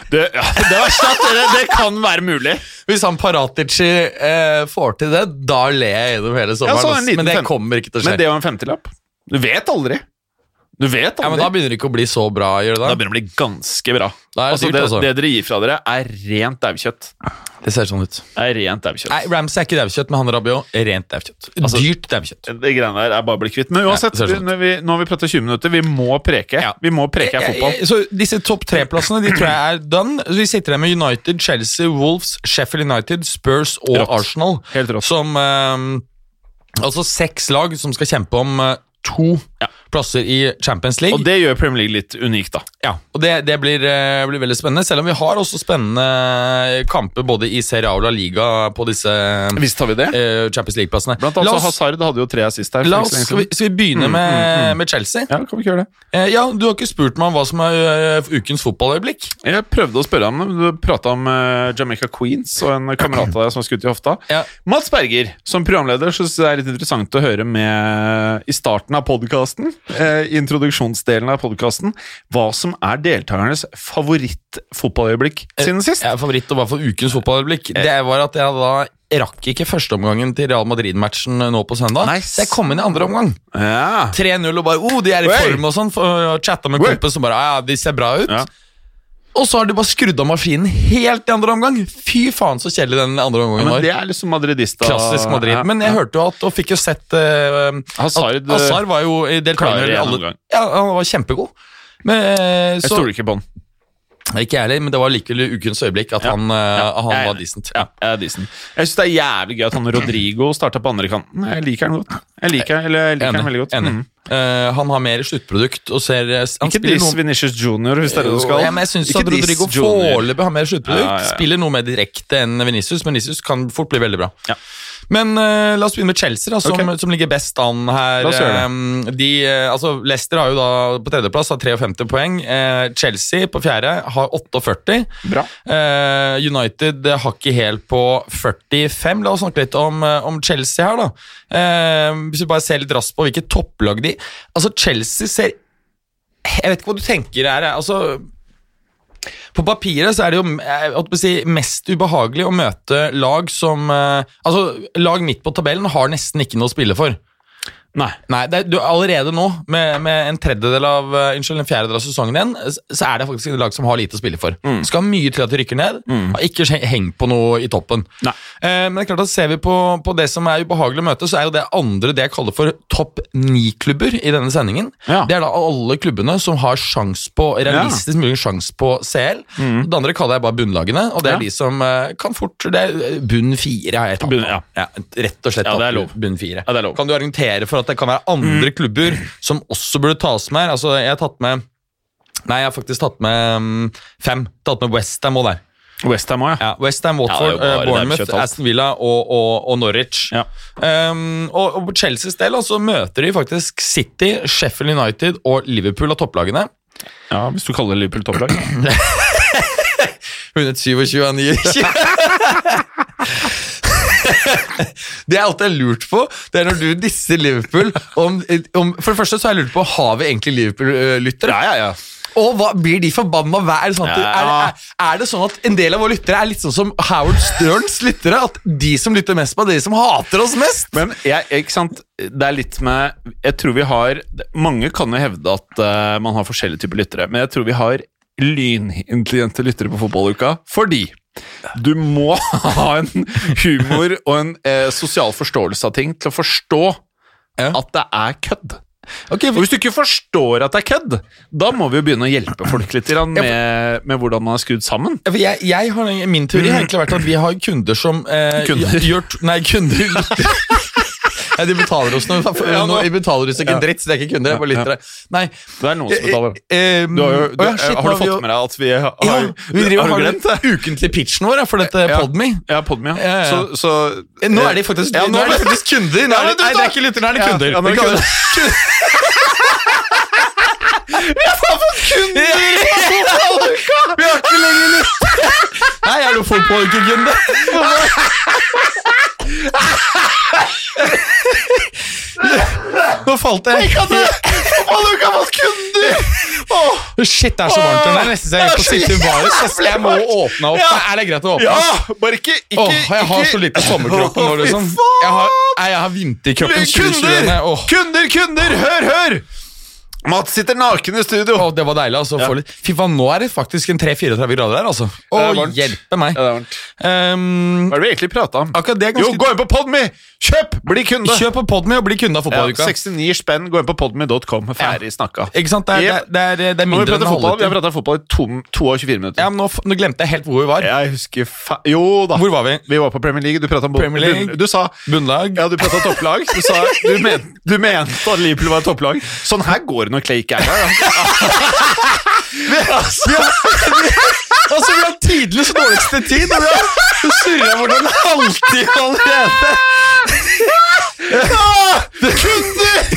S1: Det, ja, det verste er at det, det kan være mulig.
S2: Hvis han Paratici eh, får til det, da ler jeg gjennom hele sommeren.
S1: Ja, så en
S2: ass.
S1: liten
S2: men det
S1: fem-
S2: kommer ikke til å skje.
S1: Men det var en femtilapp. Du vet aldri. Du vet aldri.
S2: ja, men Da begynner det ikke å bli så bra. Gjør det,
S1: Da
S2: da?
S1: begynner det å bli ganske bra.
S2: Da er det
S1: altså,
S2: dyrt,
S1: det,
S2: altså.
S1: det dere gir fra dere, er rent daukjøtt.
S2: det ser sånn ut.
S1: Er rent daukjøtt.
S2: Nei, Ramsey er ikke daukjøtt, men han Rabiot er rent daukjøtt.
S1: Altså,
S2: Dyrt daukjøtt.
S1: Det greiene der er bare å bli kvitt. Men uansett,
S2: Ja, det ser sånn ut.
S1: når vi, nå har vi pratet 20 minutter. Vi må preke.
S2: Ja.
S1: Vi må preke her fotball.
S2: Eh, Så disse topp tre-plassene de tror jeg er done. Så Vi sitter her med United, Chelsea, Wolves, Sheffield United, Spurs og
S1: Rått.
S2: Arsenal.
S1: Helt rått.
S2: Som eh, Altså seks lag som skal kjempe om eh, to
S1: Ja.
S2: plasser i Champions League.
S1: Og det gjør Premier League litt unikt, da.
S2: Ja, og det, det blir, eh, blir veldig spennende, selv om vi har også spennende kamper både i Serie A og La Liga på disse eh,
S1: Visst har vi det.
S2: Champions League-plassene.
S1: Blant
S2: La
S1: annet så
S2: oss,
S1: Hazard hadde jo tre assist her. for
S2: la
S1: ikke
S2: oss,
S1: så lenge
S2: skal, vi,
S1: siden. Mm,
S2: skal vi begynne med, med Chelsea?
S1: Ja, kan vi ikke gjøre det?
S2: Eh, ja, Du har ikke spurt meg om hva som er eh, ukens fotballøyeblikk.
S1: Jeg prøvde å spørre ham, men du prata om eh, Jamaica Queens og en kamerat av deg som har skutt i hofta.
S2: Ja.
S1: Mats Berger, som programleder, syns det er litt interessant å høre med i starten av podkasten, eh, introduksjonsdelen av podkasten, hva som er deltakernes favorittfotballøyeblikk
S2: Eh,
S1: siden sist.
S2: Jeg er favoritt og hva for ukens fotballøyeblikk.
S1: Eh.
S2: Det var at jeg da rakk ikke førsteomgangen til Real Madrid-matchen nå på søndag.
S1: Nei.
S2: Så jeg kom inn i andre omgang.
S1: Ja.
S2: 3-0 og bare oh, de er i
S1: Oi.
S2: form og sånn. for- Og chatta med
S1: Oi.
S2: kompis som bare ja, ja, de ser bra ut.
S1: Ja.
S2: Og så har de bare skrudd av maskinen helt i andre omgang. Fy faen, så kjedelig den andre
S1: Ja,
S2: omgangen
S1: men
S2: var.
S1: det er liksom madridista
S2: Klassisk Madrid.
S1: Ja.
S2: Men jeg hørte jo at, og fikk jo sett eh,
S1: Hazard,
S2: at Hazard var jo i deltaker
S1: klarer
S2: i
S1: en
S2: alle
S1: omgang.
S2: Ja, han var kjempegod. Men, eh,
S1: Jeg
S2: så,
S1: stoler ikke på han.
S2: ikke jeg heller, men det var likevel ukens øyeblikk at han, eh, han
S1: jeg er
S2: var
S1: enig.
S2: decent.
S1: Ja, jeg er decent. Jeg syns det er jævlig gøy at han Rodrigo starta på andre kanten. Jeg liker han godt. Jeg liker, eller jeg liker han veldig godt.
S2: Enig.
S1: Mm.
S2: Eh, han har mer sluttprodukt og ser eh, han
S1: Ikke
S2: spiller
S1: diss
S2: noen-
S1: Vinicius Junior, hvis det er det du skal.
S2: Ja, men jeg synes
S1: Ikke
S2: at
S1: diss
S2: Rodrigo
S1: Junior.
S2: foreløpig har mer sluttprodukt.
S1: Ja, ja, ja.
S2: Spiller noe mer direkte enn Venicius, men Venicius kan fort bli veldig bra.
S1: Ja.
S2: Men eh, la oss begynne med Chelsea, da, som,
S1: Ok.
S2: som ligger best an her.
S1: La oss gjøre
S2: Eh, de, eh, altså, Leicester har jo da på tredjeplass har 53 poeng. Eh, Chelsea på fjerde har 48.
S1: Bra.
S2: Eh, United eh, har ikke helt på 45. La oss snakke litt om, eh, om Chelsea her, da. Eh, hvis vi bare ser litt raskt på hvilke topplag de Altså, Chelsea ser Jeg vet ikke hva du tenker her. jeg. Altså, på papiret så er det jo jeg holdt på å si, mest ubehagelig å møte lag som eh, Altså, lag midt på tabellen har nesten ikke noe å spille for.
S1: Nei.
S2: Nei, det er, du, allerede nå, med, med en tredjedel av eh, Unnskyld, en fjerdedel av sesongen igjen, s- så er det faktisk en lag som har lite å spille for.
S1: Mm.
S2: Skal mye til at de rykker ned. Har ikke he- hengt på noe i toppen.
S1: Nei.
S2: Eh, men det er klart at ser vi på, på det som er ubehagelig å møte, så er jo det andre det jeg kaller for topp ni-klubber i denne sendingen.
S1: Ja.
S2: Det er da alle klubbene som har sjans på, realistisk mulig sjans på CL. Det andre kaller jeg bare bunnlagene, og det er
S1: Mm. Ja.
S2: de som eh, kan fort det er Bunn fire har jeg tatt.
S1: Bunn- ja.
S2: rett og slett
S1: Ja, det er
S2: tatt
S1: lov.
S2: bunn fire.
S1: Ja, det er lov. Mm.
S2: Kan du argumentere for at det kan være andre klubber som også burde tas med? her? Altså, jeg har tatt med Nei, jeg har faktisk tatt med mm, fem. Tatt med Westham òg der.
S1: Westham òg,
S2: Ja,
S1: ja.
S2: Westham, Watford,
S1: det er jo bare
S2: eh, Bournemouth,
S1: daukjøtt alt.
S2: Aston Villa og, og, og Norwich.
S1: Ja.
S2: Um, og, og på Chelseas del altså, møter de faktisk City, Sheffield United og Liverpool av topplagene.
S1: ja. Hvis du kaller Liverpool topplag.
S2: Vunnet 27 av 29. Det er alt jeg har lurt på. Det er når du disser Liverpool om, om, For det første så har jeg lurt på Har vi egentlig Liverpool-lyttere.
S1: ja, ja.
S2: Og hva, blir de forbanna hver er det, sånn at,
S1: Ja.
S2: er, er, er det sånn at en del av våre lyttere er litt sånn som Howard Sterns lyttere? At de som lytter mest på, er de som hater oss mest?
S1: Men jeg, ikke sant? det er litt med Jeg tror vi har Mange kan jo hevde at eh, man har forskjellige typer lyttere, men jeg tror vi har lynintelligente lyttere på fotballuka fordi Du må ha en humor og en eh, sosial forståelse av ting til å forstå
S2: Ja.
S1: at det er kødd. og hvis du ikke forstår at det er kødd, da må vi jo begynne å hjelpe folk litt grann med, med hvordan man er skrudd sammen.
S2: Ja, for Jeg, jeg har, min teori har egentlig vært at vi har kunder som eh,
S1: Kunder.
S2: Gjør, nei, kunder lytter. Nei, de betaler oss noe. For,
S1: Ja, nå-
S2: nå- de betaler oss ikke en dritt, så det er ikke kunder. Jeg bare lytter det. Nei.
S1: Det er noen som betaler.
S2: Eh, eh,
S1: Du har, jo, du,
S2: å ja, shit,
S1: har
S2: nå
S1: du fått med deg at vi har,
S2: Ja, vi driver
S1: har
S2: og
S1: du
S2: har
S1: glemt det?
S2: den ukentlige pitchen vår ja, for dette
S1: Ja.
S2: Podme.
S1: Ja, Podmia.
S2: Ja, ja, ja.
S1: Så, så
S2: Eh, Nå er de faktisk,
S1: Ja, nå
S2: nå er de
S1: er det-
S2: faktisk kunder. Nå
S1: Ja,
S2: er
S1: men
S2: det, nei,
S1: du
S2: det er
S1: tar-
S2: ikke lytter, nå er det
S1: Ja,
S2: kunder.
S1: ja, nå er det
S2: Vi kaller
S1: kunder.
S2: det- Vi har ikke lenger lyst! Nei, jeg lo fotballkuggen. Nå falt jeg. Fotballuka mot kunder! Shit, det er så varmt. Det er nesten så jeg er på sitte i baris. ass. Jeg må åpne opp.
S1: Ja.
S2: Er det greit å åpne?
S1: Ja!
S2: opp?
S1: Bare ikke, ikke,
S2: Åh, jeg har
S1: ikke-
S2: så lite sommerkropp nå,
S1: Åh, fy
S2: liksom.
S1: faen!
S2: Jeg har, nei, jeg har vinterkroppen 2021.
S1: Kunder!
S2: Åh,
S1: Kunder, kunder! Hør, hør! Mats sitter naken i studio.
S2: åh, det var deilig. altså. få litt- Fy faen, nå er det faktisk en 3-34 grader her, altså. Å,
S1: er varmt.
S2: hjelpe meg.
S1: det er varmt.
S2: Ehm,
S1: Hva er det vi egentlig prata om?
S2: akkurat det er
S1: Jo,
S2: ganske...
S1: gå inn på Podme! Kjøp! Bli kunde!
S2: Kjøp på Podme og bli kunde av
S1: Ja,
S2: fotballuka.
S1: 69 spenn. Gå inn på podme.com. Ferdig snakka.
S2: Ikke sant? Det er,
S1: Jep.
S2: det er, det er, det er
S1: Nå har vi
S2: mindre enn
S1: pratet
S2: å
S1: fotball.
S2: holde
S1: Vi har
S2: ut.
S1: prata fotball i to, to og 24
S2: Ja,
S1: minutter.
S2: men nå, f- nå glemte jeg helt hvor vi var.
S1: Jeg husker fa... Jo da.
S2: Hvor var vi?
S1: Vi var på Premier League. Du prata om
S2: Premier League.
S1: Du sa
S2: Bunnlag.
S1: ja, du prata topplag. Du sa du, men, du mente at Liverpool var et topplag. Sånn her går det når Clay ikke er her. da.
S2: Altså, vi har tidligst dårligste tid, og vi har surra bort en halvtime allerede. Kunder!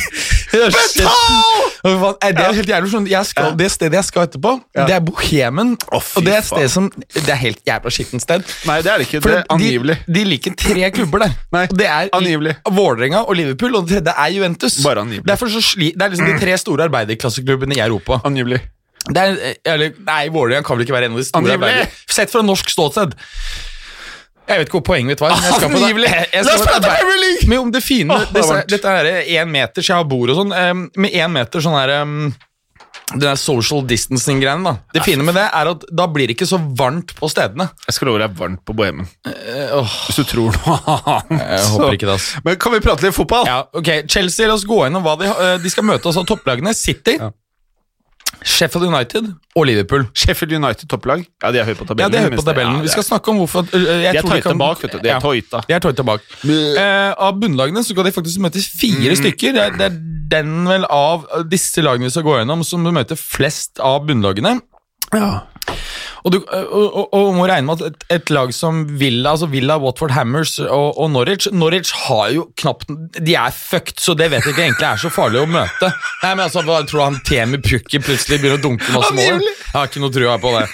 S2: Betal! Det er helt jævlig sånn, jeg skal, Det stedet jeg skal etterpå, det er Bohemen.
S1: Å, fy
S2: og det er et
S1: faen.
S2: sted som Det er helt jævla skittent sted.
S1: Nei, det er det ikke.
S2: For
S1: Det er angivelig.
S2: De, de liker tre klubber der.
S1: Nei,
S2: og det er
S1: angivelig.
S2: Vålerenga og Liverpool, og det tredje er Juventus.
S1: Bare angivelig. Mm.
S2: Derfor så sli, det er liksom de tre store arbeiderklasseklubbene i Europa.
S1: Angivelig.
S2: Det er, eller, nei, Vålerenga kan vel ikke være en av de store
S1: Angivelig!
S2: arbeiderne. Sett fra norsk ståsted. Jeg vet ikke hvor poenget mitt var. men Jeg skal på det.
S1: Angivelig!
S2: Jeg- jeg skal
S1: La oss
S2: på det
S1: prate
S2: arbeid-
S1: Premier League!
S2: Men om det fine
S1: Åh, det er
S2: disse,
S1: varmt.
S2: Dette er én meter, så jeg har bord og sånn. em, med én meter sånn her em, Den der social distancing-greien. da Det fine med det er at da blir det ikke så varmt på stedene.
S1: Jeg skal love deg varmt på Bohemen.
S2: åh.
S1: Hvis du tror noe annet.
S2: Jeg
S1: så-
S2: håper ikke det, ass.
S1: Eh, Men kan vi prate litt fotball?
S2: Ja, ok, Chelsea, la oss gå gjennom hva de, har- eh, de skal møte oss av topplagene. City,
S1: Ja.
S2: Sheffield United og Liverpool.
S1: Sheffield United topplag. Ja, de er høye på
S2: Ja,
S1: tabellen.
S2: det er høyt på
S1: minst det.
S2: tabellen.
S1: Ja,
S2: Vi
S1: det
S2: skal
S1: er-
S2: snakke om hvorfor øh, jeg
S1: De er
S2: tror vi
S1: tøyte
S2: kan-
S1: bak, vet du. De er
S2: Ja.
S1: tøyta.
S2: De er tøyte bak. Eh, av bunnlagene så skal de faktisk møte fire stykker. Det er, det er den vel av disse lagene vi skal gå gjennom, som møter flest av bunnlagene. Og, du, øh, og, og, og må regne med at et, et lag som Villa, altså Villa, Watford Hammers og, og Norwich Norwich har jo knapt De er fucked, så det vet jeg ikke egentlig er så farlig å møte. Nei, men altså, hva tror du han Temi Pukki plutselig begynner å dunke masse mål? Jeg har ikke noe trua på det.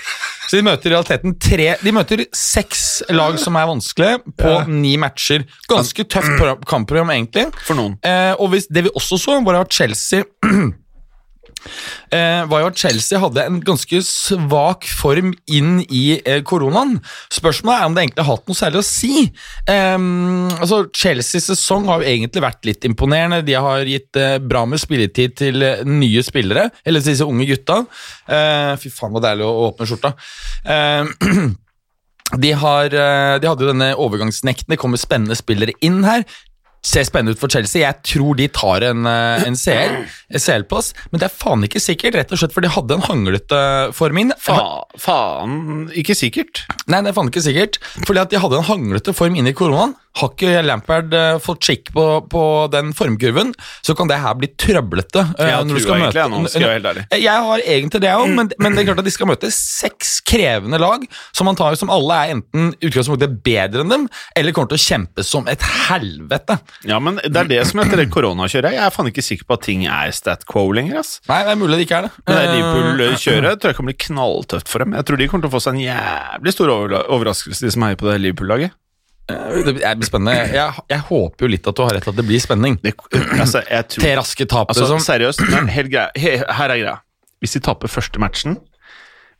S2: Så de møter i realiteten tre De møter seks lag som er vanskelige, på ni matcher. Ganske tøft pro- kampprogram, egentlig.
S1: For noen.
S2: Eh, og hvis, det vi også så, var at Chelsea eh, var jo at Chelsea hadde en ganske svak form inn i eh, koronaen. Spørsmålet er om det egentlig har hatt noe særlig å si. Ehm, altså, Chelseas sesong har jo egentlig vært litt imponerende. De har gitt eh, bra med spilletid til eh, nye spillere, eller til disse unge gutta. Eh, fy faen, så deilig å å åpne skjorta. Ehm, de, har, eh, de hadde jo denne overgangsnekten. Det kommer spennende spillere inn her. Ser spennende ut for Chelsea. Jeg tror de tar en, eh, en CL, en CL-plass, men det er faen ikke sikkert, rett og slett, for de hadde en hanglete form inn.
S1: Fa faen Ikke sikkert.
S2: Nei, det er faen ikke sikkert. Fordi at de hadde en hanglete form inn i koronaen. Har ikke Lampard eh, fått kikk på, på den formkurven, så kan det her bli trøblete. eh,
S1: Jeg har trua egentlig, jeg, nå, skal jeg være helt ærlig.
S2: Eh, Jeg har egentlig det òg, men, men det er klart at de skal møte seks krevende lag som antar som alle er enten i utgangspunktet bedre enn dem, eller kommer til å kjempe som et helvete.
S1: Ja, men det er det som heter det koronakjøret. Jeg er faen ikke sikker på at ting er stat quo lenger, ass.
S2: Nei, det er mulig det ikke er det.
S1: Men det
S2: Eh,
S1: Liverpool-kjøret tror jeg kan bli knalltøft for dem. Jeg tror de kommer til å få seg en jævlig stor overla- overraskelse, de som heier på det Liverpool-laget.
S2: Eh, Det blir spennende. Jeg, jeg håper jo litt at du har rett at det blir spenning.
S1: Det- Altså, jeg tror
S2: Tre raske tap,
S1: Altså,
S2: liksom.
S1: seriøst, men helt greia. He, her er greia. Hvis de taper første matchen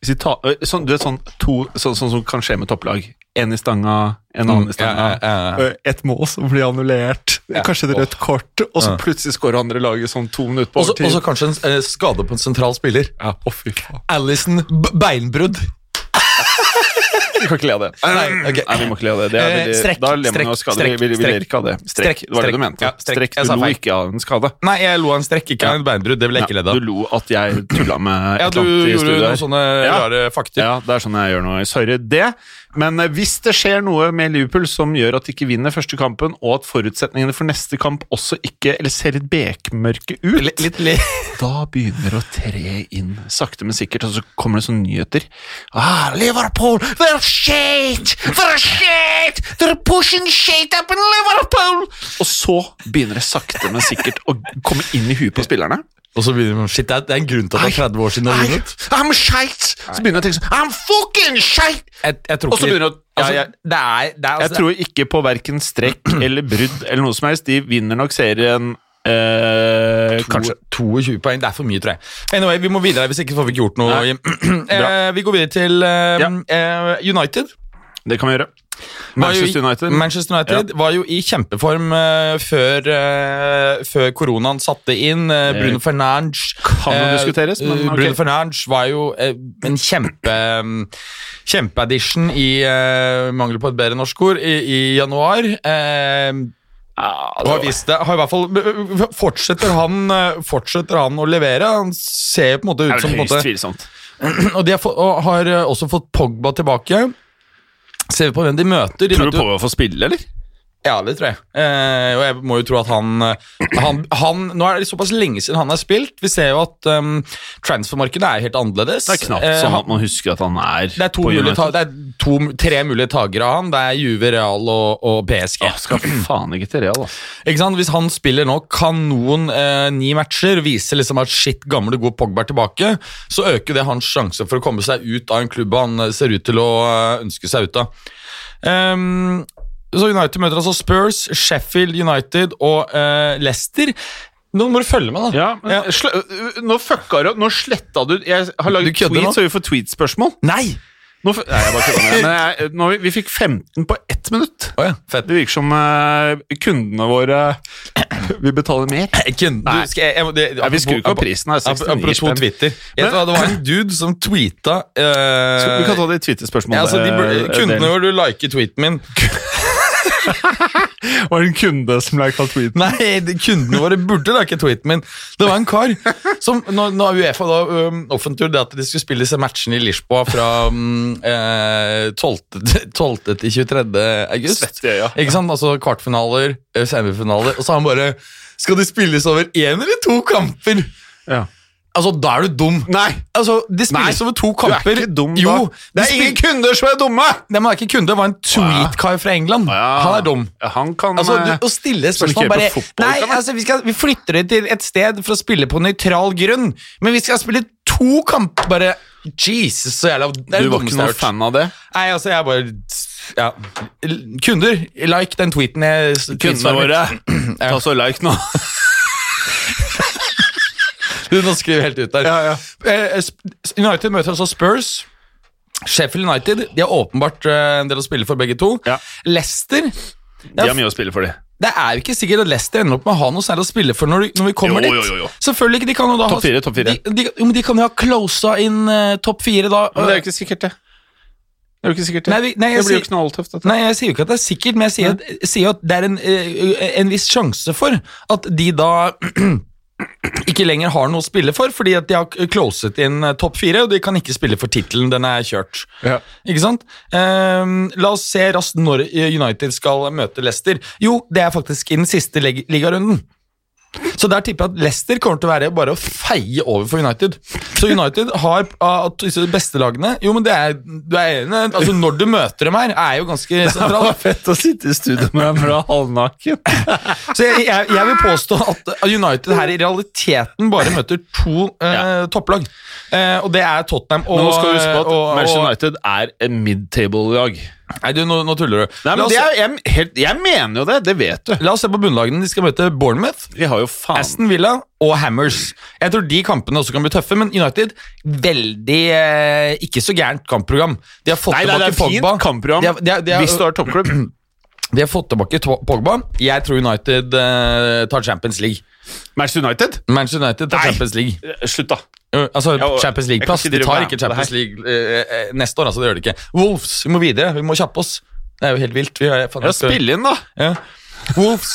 S1: hvis de ta, ø, sånn, Du vet sånn, to, sånn, sånn som kan skje med topplag. Én i stanga, en annen i
S2: ja,
S1: stanga.
S2: ja, ja.
S1: Ø, Et mål som blir annullert, kanskje et rødt kort, og så plutselig skårer andre laget sånn to minutter på
S2: Og så
S1: overtid.
S2: og så kanskje en eh, skade på en sentral spiller.
S1: ja, å, fy faen.
S2: Alison B- beinbrudd.
S1: Vi kan ikke le av det. Nei,
S2: ok.
S1: Nei, vi må ikke le av det. det er
S2: Eh,
S1: veldig,
S2: strekk,
S1: Da ler man av
S2: strekk,
S1: skade. Vi, vi, vi
S2: strekk,
S1: ler ikke av det. Strekk.
S2: strekk,
S1: Det var det du
S2: strekk.
S1: mente.
S2: Ja, strekk. Jeg
S1: strekk. Du
S2: sa
S1: lo
S2: feil.
S1: ikke av en skade.
S2: Nei, jeg lo av en strekk, ikke av et beinbrudd. Det vil jeg ikke
S1: Ja,
S2: ledd
S1: du
S2: av.
S1: lo at jeg tulla med
S2: Ja,
S1: et
S2: du
S1: eller annet i
S2: gjorde sånn
S1: studioet.
S2: noen
S1: her.
S2: sånne
S1: Ja.
S2: rare fakter.
S1: Ja, det er sånn jeg gjør nå. Sorry det. Men eh, hvis det skjer noe med Liverpool som gjør at de ikke vinner første kampen, og at forutsetningene for neste kamp også ikke Eller ser litt bekmørke ut,
S2: Litt, litt, litt.
S1: da begynner det å tre inn sakte, men sikkert, og så kommer det sånne nyheter. Ah, Liverpool, they're shit! They're shit! They're pushing shit up in Liverpool! Og så begynner det sakte, men sikkert å komme inn i huet på spillerne.
S2: Og så begynner man Shit, det er, det er en grunn til at det er 30 år siden det er vunnet.
S1: I'm shit! Så begynner jeg å tenke sånn I'm fucking shit!
S2: Jeg, jeg tror
S1: Og så
S2: ikke-
S1: begynner det å-
S2: altså,
S1: Ja, jeg-
S2: Det er, det er, altså,
S1: Jeg tror ikke på verken strekk eller brudd eller noe som helst. De vinner nok serien eh,
S2: to-
S1: kanskje.
S2: 22 poeng. Det er for mye, tror jeg. Anyway, vi må videre, hvis ikke får vi ikke gjort noe.
S1: Nei.
S2: Jim. eh, vi går videre til eh, eh, United.
S1: Det kan vi gjøre.
S2: Var jo
S1: Manchester
S2: i,
S1: United.
S2: Manchester United var jo i kjempeform eh, før, eh, før koronaen satte inn. Eh, Bruno Fernandes eh,
S1: kan jo diskuteres, men ok.
S2: Bruno Fernandes var jo eh, en kjempe mm, kjempeaddition i eh, mangel på et bedre norsk ord, i, i januar. Eh, og har vist det, har i hvert fall eh, fortsetter han, eh, fortsetter han å levere. Han ser jo på en måte
S1: det
S2: ut
S1: er
S2: som
S1: vel
S2: på en
S1: høyst
S2: måte,
S1: tvilsomt.
S2: Og de har, få, og har eh, også fått Pogba tilbake. Ser vi på hvem de møter. De
S1: Tror
S2: møter
S1: du
S2: jo-
S1: på å få spille, eller?
S2: ja, det tror jeg. Eh, og jeg må jo tro at han, eh, han, han Nå er det såpass lenge siden han har spilt. Vi ser jo at um, transfermarkedet er helt annerledes.
S1: Det er knapt
S2: Eh,
S1: sånn
S2: han-
S1: at man husker at han er
S2: det er, to
S1: på
S2: mulige, ta-
S1: United.
S2: det er to, tre mulige takere av han. Det er Juve, Real og, og PSG.
S1: Ja, skal faen ikke til Real, altså.
S2: Ikke sant? Hvis han spiller nå kanon eh, ni matcher, viser liksom at shit, gamle, gode Pogba er tilbake, så øker det hans sjanse for å komme seg ut av en klubb han eh, ser ut til å eh, ønske seg ut av. Ehm, så United møter altså Spurs, Sheffield United og eh, Leicester. Nå må du følge med, da.
S1: Ja, men,
S2: Ja.
S1: sl- øh, Nå fucka du Nå sletta du Jeg har
S2: Du
S1: laget
S2: kødder nå?
S1: tweet, så vi får tweet-spørsmål.
S2: Nei!
S1: Nå, f- nei, jeg bare kødder med deg, men jeg, nå, vi fikk 15 på ett minutt.
S2: Å ja, fett.
S1: Det virker som eh, kundene våre vil betale mer.
S2: Kun, du,
S1: Nei.
S2: skal jeg, jeg, må- det,
S1: Ja, vi skrur ikke opp prisen her. 69
S2: Apropos
S1: spenn.
S2: Twitter. Vet du hva, det var en dude som tweeta eh,
S1: Skal- Vi kan ta det i Twitter-spørsmålet.
S2: ja, altså, de, bur-
S1: eh,
S2: Kundene
S1: delen.
S2: hvor du liker tweeten min
S1: Var det en kunde som lika tweeten?
S2: Nei, de- kundene våre burde da ikke tweeten min. Det var en kar som Når, når Uefa da um, offentliggjorde det at de skulle spille disse matchene i Lisboa fra um, eh, 12. til- 12. til 23. august
S1: Svett i øya.
S2: Ikke sant? Altså kvartfinaler, eh, semifinaler Og så har han bare Skal de spilles over én eller to kamper?
S1: Ja.
S2: Altså, da er du dum.
S1: Nei!
S2: Altså, De spilles
S1: Nei,
S2: over to
S1: Du er
S2: kamper.
S1: ikke dum, da.
S2: jo,
S1: det er ingen kunder som er dumme!
S2: Nei, men det er ikke kunde, det var en tweet-kar fra England.
S1: Ja.
S2: Han er dum.
S1: Ja, Han kan
S2: Altså,
S1: eh,
S2: du, Å stille
S1: Som
S2: spørsmål
S1: ikke
S2: bare
S1: er på fotball, liksom?
S2: Nei,
S1: kan man-
S2: altså, vi, skal, vi flytter det til et sted for å spille på nøytral grunn, men vi skal spille to kamper bare Jesus, så jævla Det er
S1: Du
S2: det
S1: var ikke
S2: dummeste jeg
S1: noen
S2: har hørt.
S1: fan av det?
S2: Nei, altså, jeg bare ja. L- Kunder, like den tweeten jeg s-
S1: Kundene
S2: tweetsvarer.
S1: våre, ta så like nå.
S2: Du, nå skriver jeg helt ut der. Eh, Sp- United møter altså Spurs. Sheffield United de har åpenbart eh, en del å spille for, begge to.
S1: Ja.
S2: Leicester
S1: De har mye å spille for, de.
S2: Det er jo ikke sikkert at Leicester ender opp med å ha noe særlig å spille for når, de- når vi kommer
S1: Jo,
S2: dit.
S1: jo, jo, jo.
S2: Selvfølgelig ikke, de kan jo da ha-
S1: Topp fire, topp fire.
S2: De, de, jo, men de kan jo ha closa inn eh, topp fire da.
S1: Men det er jo ikke sikkert, det. Det er jo ikke sikkert det.
S2: Nei, vi- nei, jeg
S1: det blir jo
S2: sier-
S1: knalltøft, dette.
S2: Nei, jeg sier jo ikke at det er sikkert, men jeg sier, at, jeg sier jo at det er en, eh, en viss sjanse for at de da ikke lenger har noe å spille for, fordi at de har closet inn eh, topp fire, og de kan ikke spille for tittelen, den er kjørt.
S1: Ja.
S2: Ikke sant? Ehm, la oss se raskt når United skal møte Leicester. Jo, det er faktisk i den siste leg- ligarunden. Så der tipper jeg at Leicester kommer til å være bare å feie over for United. Så United har av disse beste lagene Jo, men det er, du er enig Altså, når du møter dem her, er jo ganske sentralt.
S1: fett å sitte i studio med dem fra halvnaken.
S2: Så jeg, jeg, jeg vil påstå at United her i realiteten bare møter to eh,
S1: Ja.
S2: topplag. Eh, og det er Tottenham og
S1: Men nå skal du huske på at
S2: og- og-
S1: Manchester United er en midtable-lag.
S2: Nei, du, nå, nå tuller du.
S1: Nei,
S2: La
S1: men altså-
S2: oss-
S1: det er, jeg, helt, jeg mener jo det. Det vet du.
S2: La oss se på bunnlagene. De skal møte Bournemouth,
S1: De har jo faen
S2: Aston Villa og Hammers. Jeg tror de kampene også kan bli tøffe, men United veldig eh, ikke så gærent kampprogram. De har fått
S1: Nei, nei, det er
S2: tilbake
S1: fint
S2: Pogba.
S1: kampprogram
S2: De har, de har, de har,
S1: hvis du har toppklubb.
S2: de har fått tilbake to- Pogba. Jeg tror United eh, tar Champions League.
S1: Manchester United?
S2: Manchester United tar
S1: Nei.
S2: Champions League.
S1: Eh, Slutt, da.
S2: Jo, Altså,
S1: Ja, og-
S2: Champions
S1: jeg
S2: League
S1: kan
S2: plass.
S1: ikke
S2: De
S1: drive
S2: tar
S1: med
S2: ikke
S1: det her.
S2: Champions League eh, eh, neste år, altså. Det gjør de ikke. Wolves, vi må videre. Vi må kjappe oss. Det er jo helt vilt. Vi har, eh, faen,
S1: Ja,
S2: jeg skal-
S1: spill inn, da!
S2: Ja. Wolves.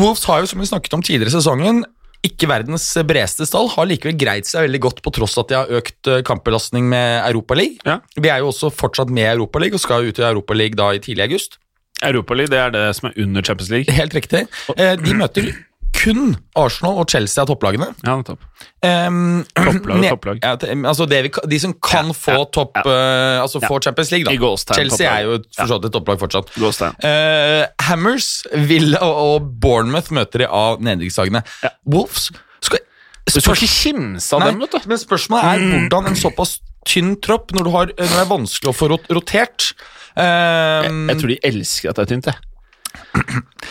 S2: Wolves har jo, som vi snakket om tidligere i sesongen, ikke verdens bredeste stall, har likevel greid seg veldig godt på tross at de har økt eh, kampbelastning med Europaligaen.
S1: Ja.
S2: Vi er jo også fortsatt med i Europaligaen og skal ut i Europaligaen da i tidlig august.
S1: Europaligaen, det er det som er under Champions League.
S2: Helt riktig. Eh, De møter kun Arsenal og Chelsea av topplagene.
S1: Ja, nettopp.
S2: Ehm,
S1: Topplag og
S2: ne-
S1: topplag.
S2: Ja, te- altså det vi, ka- de som kan få topp eh, Altså få Champions League,
S1: I
S2: da.
S1: gåstegn,
S2: Chelsea
S1: topplag.
S2: er jo et- for så vidt et topplag fortsatt.
S1: Gåstein.
S2: Eh, Hammers, Villa og- og Bournemouth møter de av nedrykkslagene.
S1: Ja.
S2: Wolves skal
S1: Du skal ikke kimse av
S2: Nei,
S1: dem, vet du.
S2: men spørsmålet er hvordan en såpass tynn tropp, når, du har, når det er vanskelig å få rot rotert ehm,
S1: Jeg tror de elsker at det er tynt, jeg.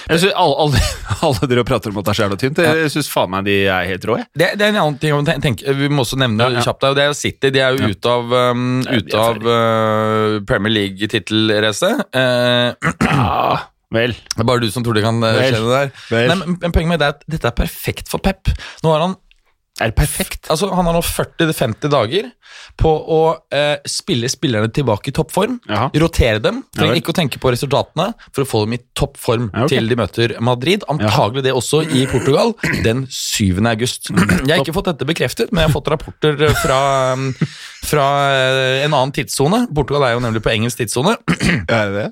S1: Jeg synes alle, alle, alle dere prater om at det er så jævla tynt. Jeg syns faen meg de er helt rå, jeg.
S2: det, det er en annen ting jeg må ten- tenke, vi må også nevne
S1: Ja, ja.
S2: kjapt her, og det er jo City. De er jo ute av, um,
S1: Ja, de er
S2: ute av eh, Premier League-tittelracet. Eh,
S1: Ja, vel.
S2: det er bare du som tror det kan eh,
S1: Vel,
S2: skje det der.
S1: vel.
S2: Nei, men, men poenget med det er at dette er perfekt for Pep. Nå har han
S1: Er det perfekt?
S2: Altså, Han har nå 40-50 dager på å eh, spille spillerne tilbake i toppform.
S1: Jaha.
S2: Rotere dem.
S1: Ja
S2: Trenger
S1: vel.
S2: ikke å tenke på resultatene for å få dem i toppform
S1: Ja, ok.
S2: til de møter Madrid. Antagelig det også i Portugal den 7. august. Jeg har ikke fått dette bekreftet, men jeg har fått rapporter eh, fra, mm, fra eh, en annen tidssone. Portugal er jo nemlig på engelsk tidssone.
S1: Er det det?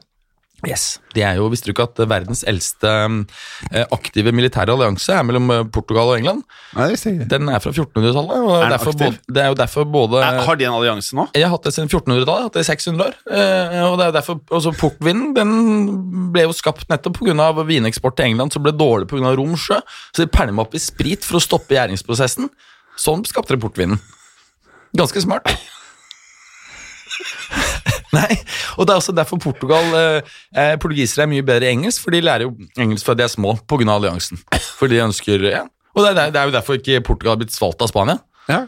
S2: Yes. Det er jo, Visste du ikke at verdens eldste eh, aktive militære allianse er mellom eh, Portugal og England?
S1: Nei, det visste jeg
S2: Den er fra 1400-tallet, og
S1: den
S2: derfor
S1: aktiv?
S2: både, det er jo derfor både
S1: Har de en allianse nå?
S2: Jeg har hatt det siden 1400-tallet, jeg har hatt det i 600 år. eh, Og det er jo derfor, også Portvinen den ble jo skapt nettopp pga. vineksport til England, som ble dårlig pga. rom sjø. Så de pælma opp i sprit for å stoppe gjæringsprosessen. Sånn skapte de portvinen. Ganske smart. Nei, og det er også derfor Portugal eh, eh, Portugisere er mye bedre i engelsk, for de lærer jo engelsk fra de er små pga. alliansen. For de ønsker ja. Og det er, det er jo derfor ikke Portugal har blitt svalt av Spania.
S1: Ja.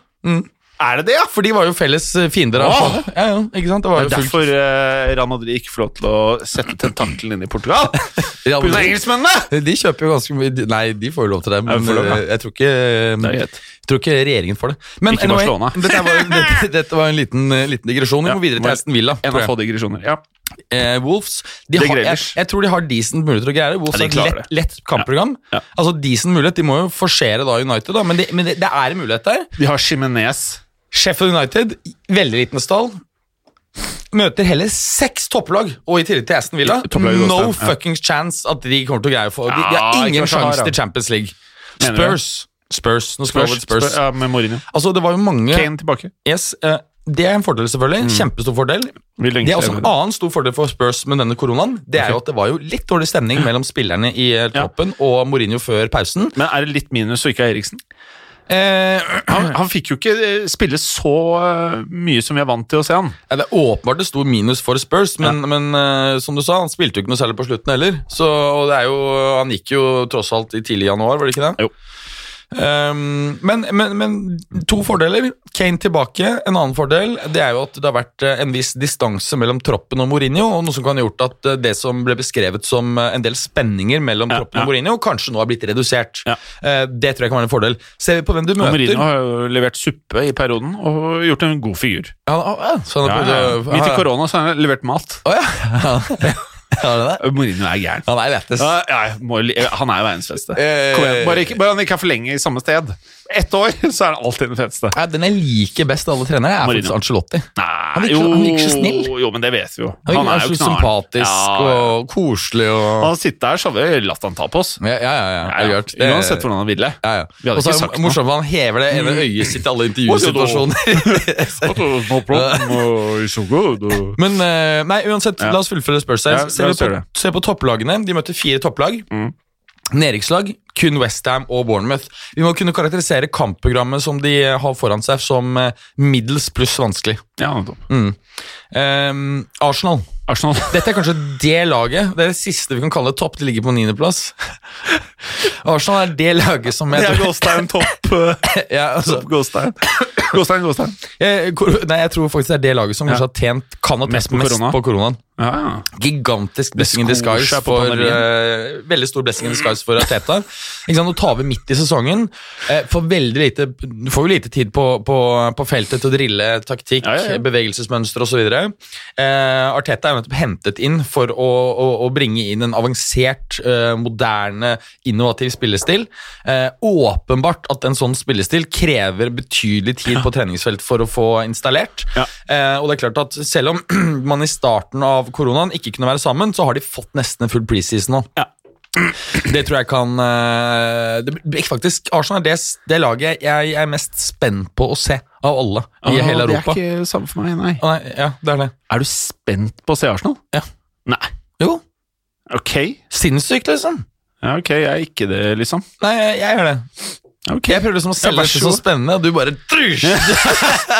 S1: Er det det, ja?
S2: For de var jo felles eh, fiender av
S1: Åh!
S2: Spania. Ja, ja, ikke sant? Det var jo
S1: Det er
S2: fullt-
S1: derfor eh, Real Madrid ikke får lov til å sette tentakelen inn i Portugal.
S2: Real
S1: Pga.
S2: Madrid.
S1: engelskmennene!
S2: De kjøper jo ganske mye de- Nei, de får jo lov til det,
S1: Ja,
S2: men
S1: de får lov, ja.
S2: eh, jeg tror ikke
S1: Det er
S2: jeg
S1: greit.
S2: tror ikke regjeringen får det. Men
S1: Ikke Barcelona.
S2: dette, var, dette, dette var en liten, eh, liten digresjon. Vi
S1: Ja,
S2: må videre til
S1: var-
S2: Aston Villa.
S1: En
S2: tror
S1: av
S2: jeg.
S1: få digresjoner. Ja.
S2: Eh, Wolves de
S1: Det
S2: har, jeg,
S1: Grealish.
S2: jeg tror de har decent mulighet til å greie det. Wolves
S1: Ja, de
S2: har et
S1: klarer
S2: lett, lett kampprogram.
S1: Ja.
S2: Altså decent mulighet, De må jo forsere da United, da, men, de, men det- det er en mulighet der.
S1: De har Chimenez.
S2: Sheffield United, veldig liten stall. Møter heller seks topplag, og i tillegg til Aston Villa.
S1: Topplag i
S2: no
S1: Gåstein, ja.
S2: fucking chance at de kommer til å greie å få De, de
S1: Ja,
S2: har ingen
S1: ikke så hard,
S2: sjanse
S1: da.
S2: til Champions League.
S1: Mener du?
S2: Spurs. Spurs. Nå skal vi over til Spurs.
S1: ja, med Mourinho.
S2: Altså, det var jo mange
S1: Kane Mm. tilbake.
S2: yes, eh, Det er en fordel, selvfølgelig. Kjempestor fordel.
S1: Vi lengter
S2: Det er også en
S1: etter det.
S2: annen stor fordel for Spurs med denne koronaen. Det er jo at det var jo litt dårlig stemning mellom spillerne i eh,
S1: Ja.
S2: troppen og Mourinho før pausen.
S1: Men er det litt minus og ikke er Eriksen?
S2: Eh,
S1: Han, han fikk jo ikke eh, spille så eh, mye som vi er vant til å se han.
S2: Ja, det er åpenbart et stort minus for Spurs, men, men eh, som du sa, han spilte jo ikke noe særlig på slutten heller. Så, og det er jo, han gikk jo tross alt i tidlig januar, var det ikke det?
S1: Jo.
S2: Ehm, men, men, men to fordeler. Kane tilbake. En annen fordel det er jo at det har vært eh, en viss distanse mellom troppen og Mourinho. og Noe som kan ha gjort at eh, det som ble beskrevet som eh, en del spenninger mellom
S1: Ja,
S2: troppen
S1: ja.
S2: og Mourinho, kanskje nå har blitt redusert.
S1: Ja.
S2: Eh, det tror jeg kan være en fordel. Ser vi på hvem du
S1: Og
S2: møter
S1: Mourinho har jo levert suppe i perioden og gjort en god figur.
S2: Ja, ja, så han
S1: Ja,
S2: har
S1: ja.
S2: prøvd å-
S1: Midt i korona så har han levert mat.
S2: Å ja. ja, det der.
S1: Mourinho er gæren.
S2: Han er lettest.
S1: Ja, ja, jeg må, li- han er jo verdens beste.
S2: Eh,
S1: Kom igjen. Bare, ikke, bare han ikke er for lenge i samme sted. Ett år, så er han alltid den feteste.
S2: Ja, den jeg liker best av alle trenere, er
S1: Mourinho.
S2: faktisk Ancelotti.
S1: Nei,
S2: virker- han virker så snill.
S1: Jo, men det vet vi jo.
S2: Han, er, så
S1: knall.
S2: sympatisk
S1: Ja, ja.
S2: og koselig og
S1: Han sitter der, så hadde vi latt han ta på oss.
S2: Ja, ja, ja. ja,
S1: Ja,
S2: jeg
S1: ja.
S2: har hørt. Det-
S1: Uansett hvordan han ville.
S2: ja, ja.
S1: Vi hadde
S2: Og så er
S1: ikke sagt Mm.
S2: det morsomt at han hever det ene øyet sitt i alle intervjusituasjoner.
S1: noe.
S2: Men eh, nei, uansett, la oss fullføre spørsmålet.
S1: Ja,
S2: se,
S1: la oss
S2: på,
S1: gjøre det.
S2: se på topplagene. De møtte fire topplag.
S1: Mm.
S2: Nedrykkslag, kun Westham og Bournemouth. Vi må kunne karakterisere kampprogrammet som de har foran seg, som eh, middels pluss vanskelig.
S1: Ja, nettopp.
S2: Ehm, Arsenal.
S1: Arsenal.
S2: Dette er kanskje det laget. Det er det siste vi kan kalle topp. De ligger på niendeplass. Arsenal er det laget som jeg
S1: Det er
S2: tror,
S1: Gåstein topp. eh,
S2: ja, altså,
S1: topp Gåstein. Gåstein, Gåstein.
S2: jeg, kor- nei, jeg tror faktisk det er det laget som
S1: Ja.
S2: kanskje har tjent kan ha tjent
S1: Mest på
S2: mest
S1: korona.
S2: på koronaen.
S1: Ja, ja.
S2: Gigantisk blessing in
S1: Det skor
S2: disguise
S1: seg på
S2: for eh,
S1: Panarien.
S2: Veldig stor blessing in disguise for Ateta. Ikke sant, Å tape midt i sesongen eh, Får veldig lite Du får jo lite tid på, på, på feltet til å drille taktikk,
S1: Ja, ja, ja.
S2: Eh, bevegelsesmønster osv. Eh, Arteta er jo nettopp hentet inn for å, å, å bringe inn en avansert, eh, moderne, innovativ spillestil. Eh, åpenbart at en sånn spillestil krever betydelig tid på treningsfelt for å få installert.
S1: Ja.
S2: Eh, og det er klart at Selv om man i starten av koronaen ikke kunne være sammen, så har de fått nesten en full preseason nå.
S1: Ja.
S2: Det tror jeg kan eh, det, blir- Faktisk, Arsenal er det, s- det laget jeg er mest spent på å se av alle i
S1: Åh,
S2: hele Europa.
S1: Ah, Det er ikke samme for meg, nei.
S2: Å, nei, ja, det er det.
S1: Er du spent på å se Arsenal?
S2: Ja.
S1: Nei.
S2: Jo,
S1: Ok.
S2: sinnssykt, liksom.
S1: Ja, ok, jeg er ikke det, liksom.
S2: Nei, jeg jeg gjør det.
S1: Ok.
S2: Jeg prøver liksom å selge
S1: vær
S2: dette
S1: så
S2: så
S1: god.
S2: spennende, og du bare trusj!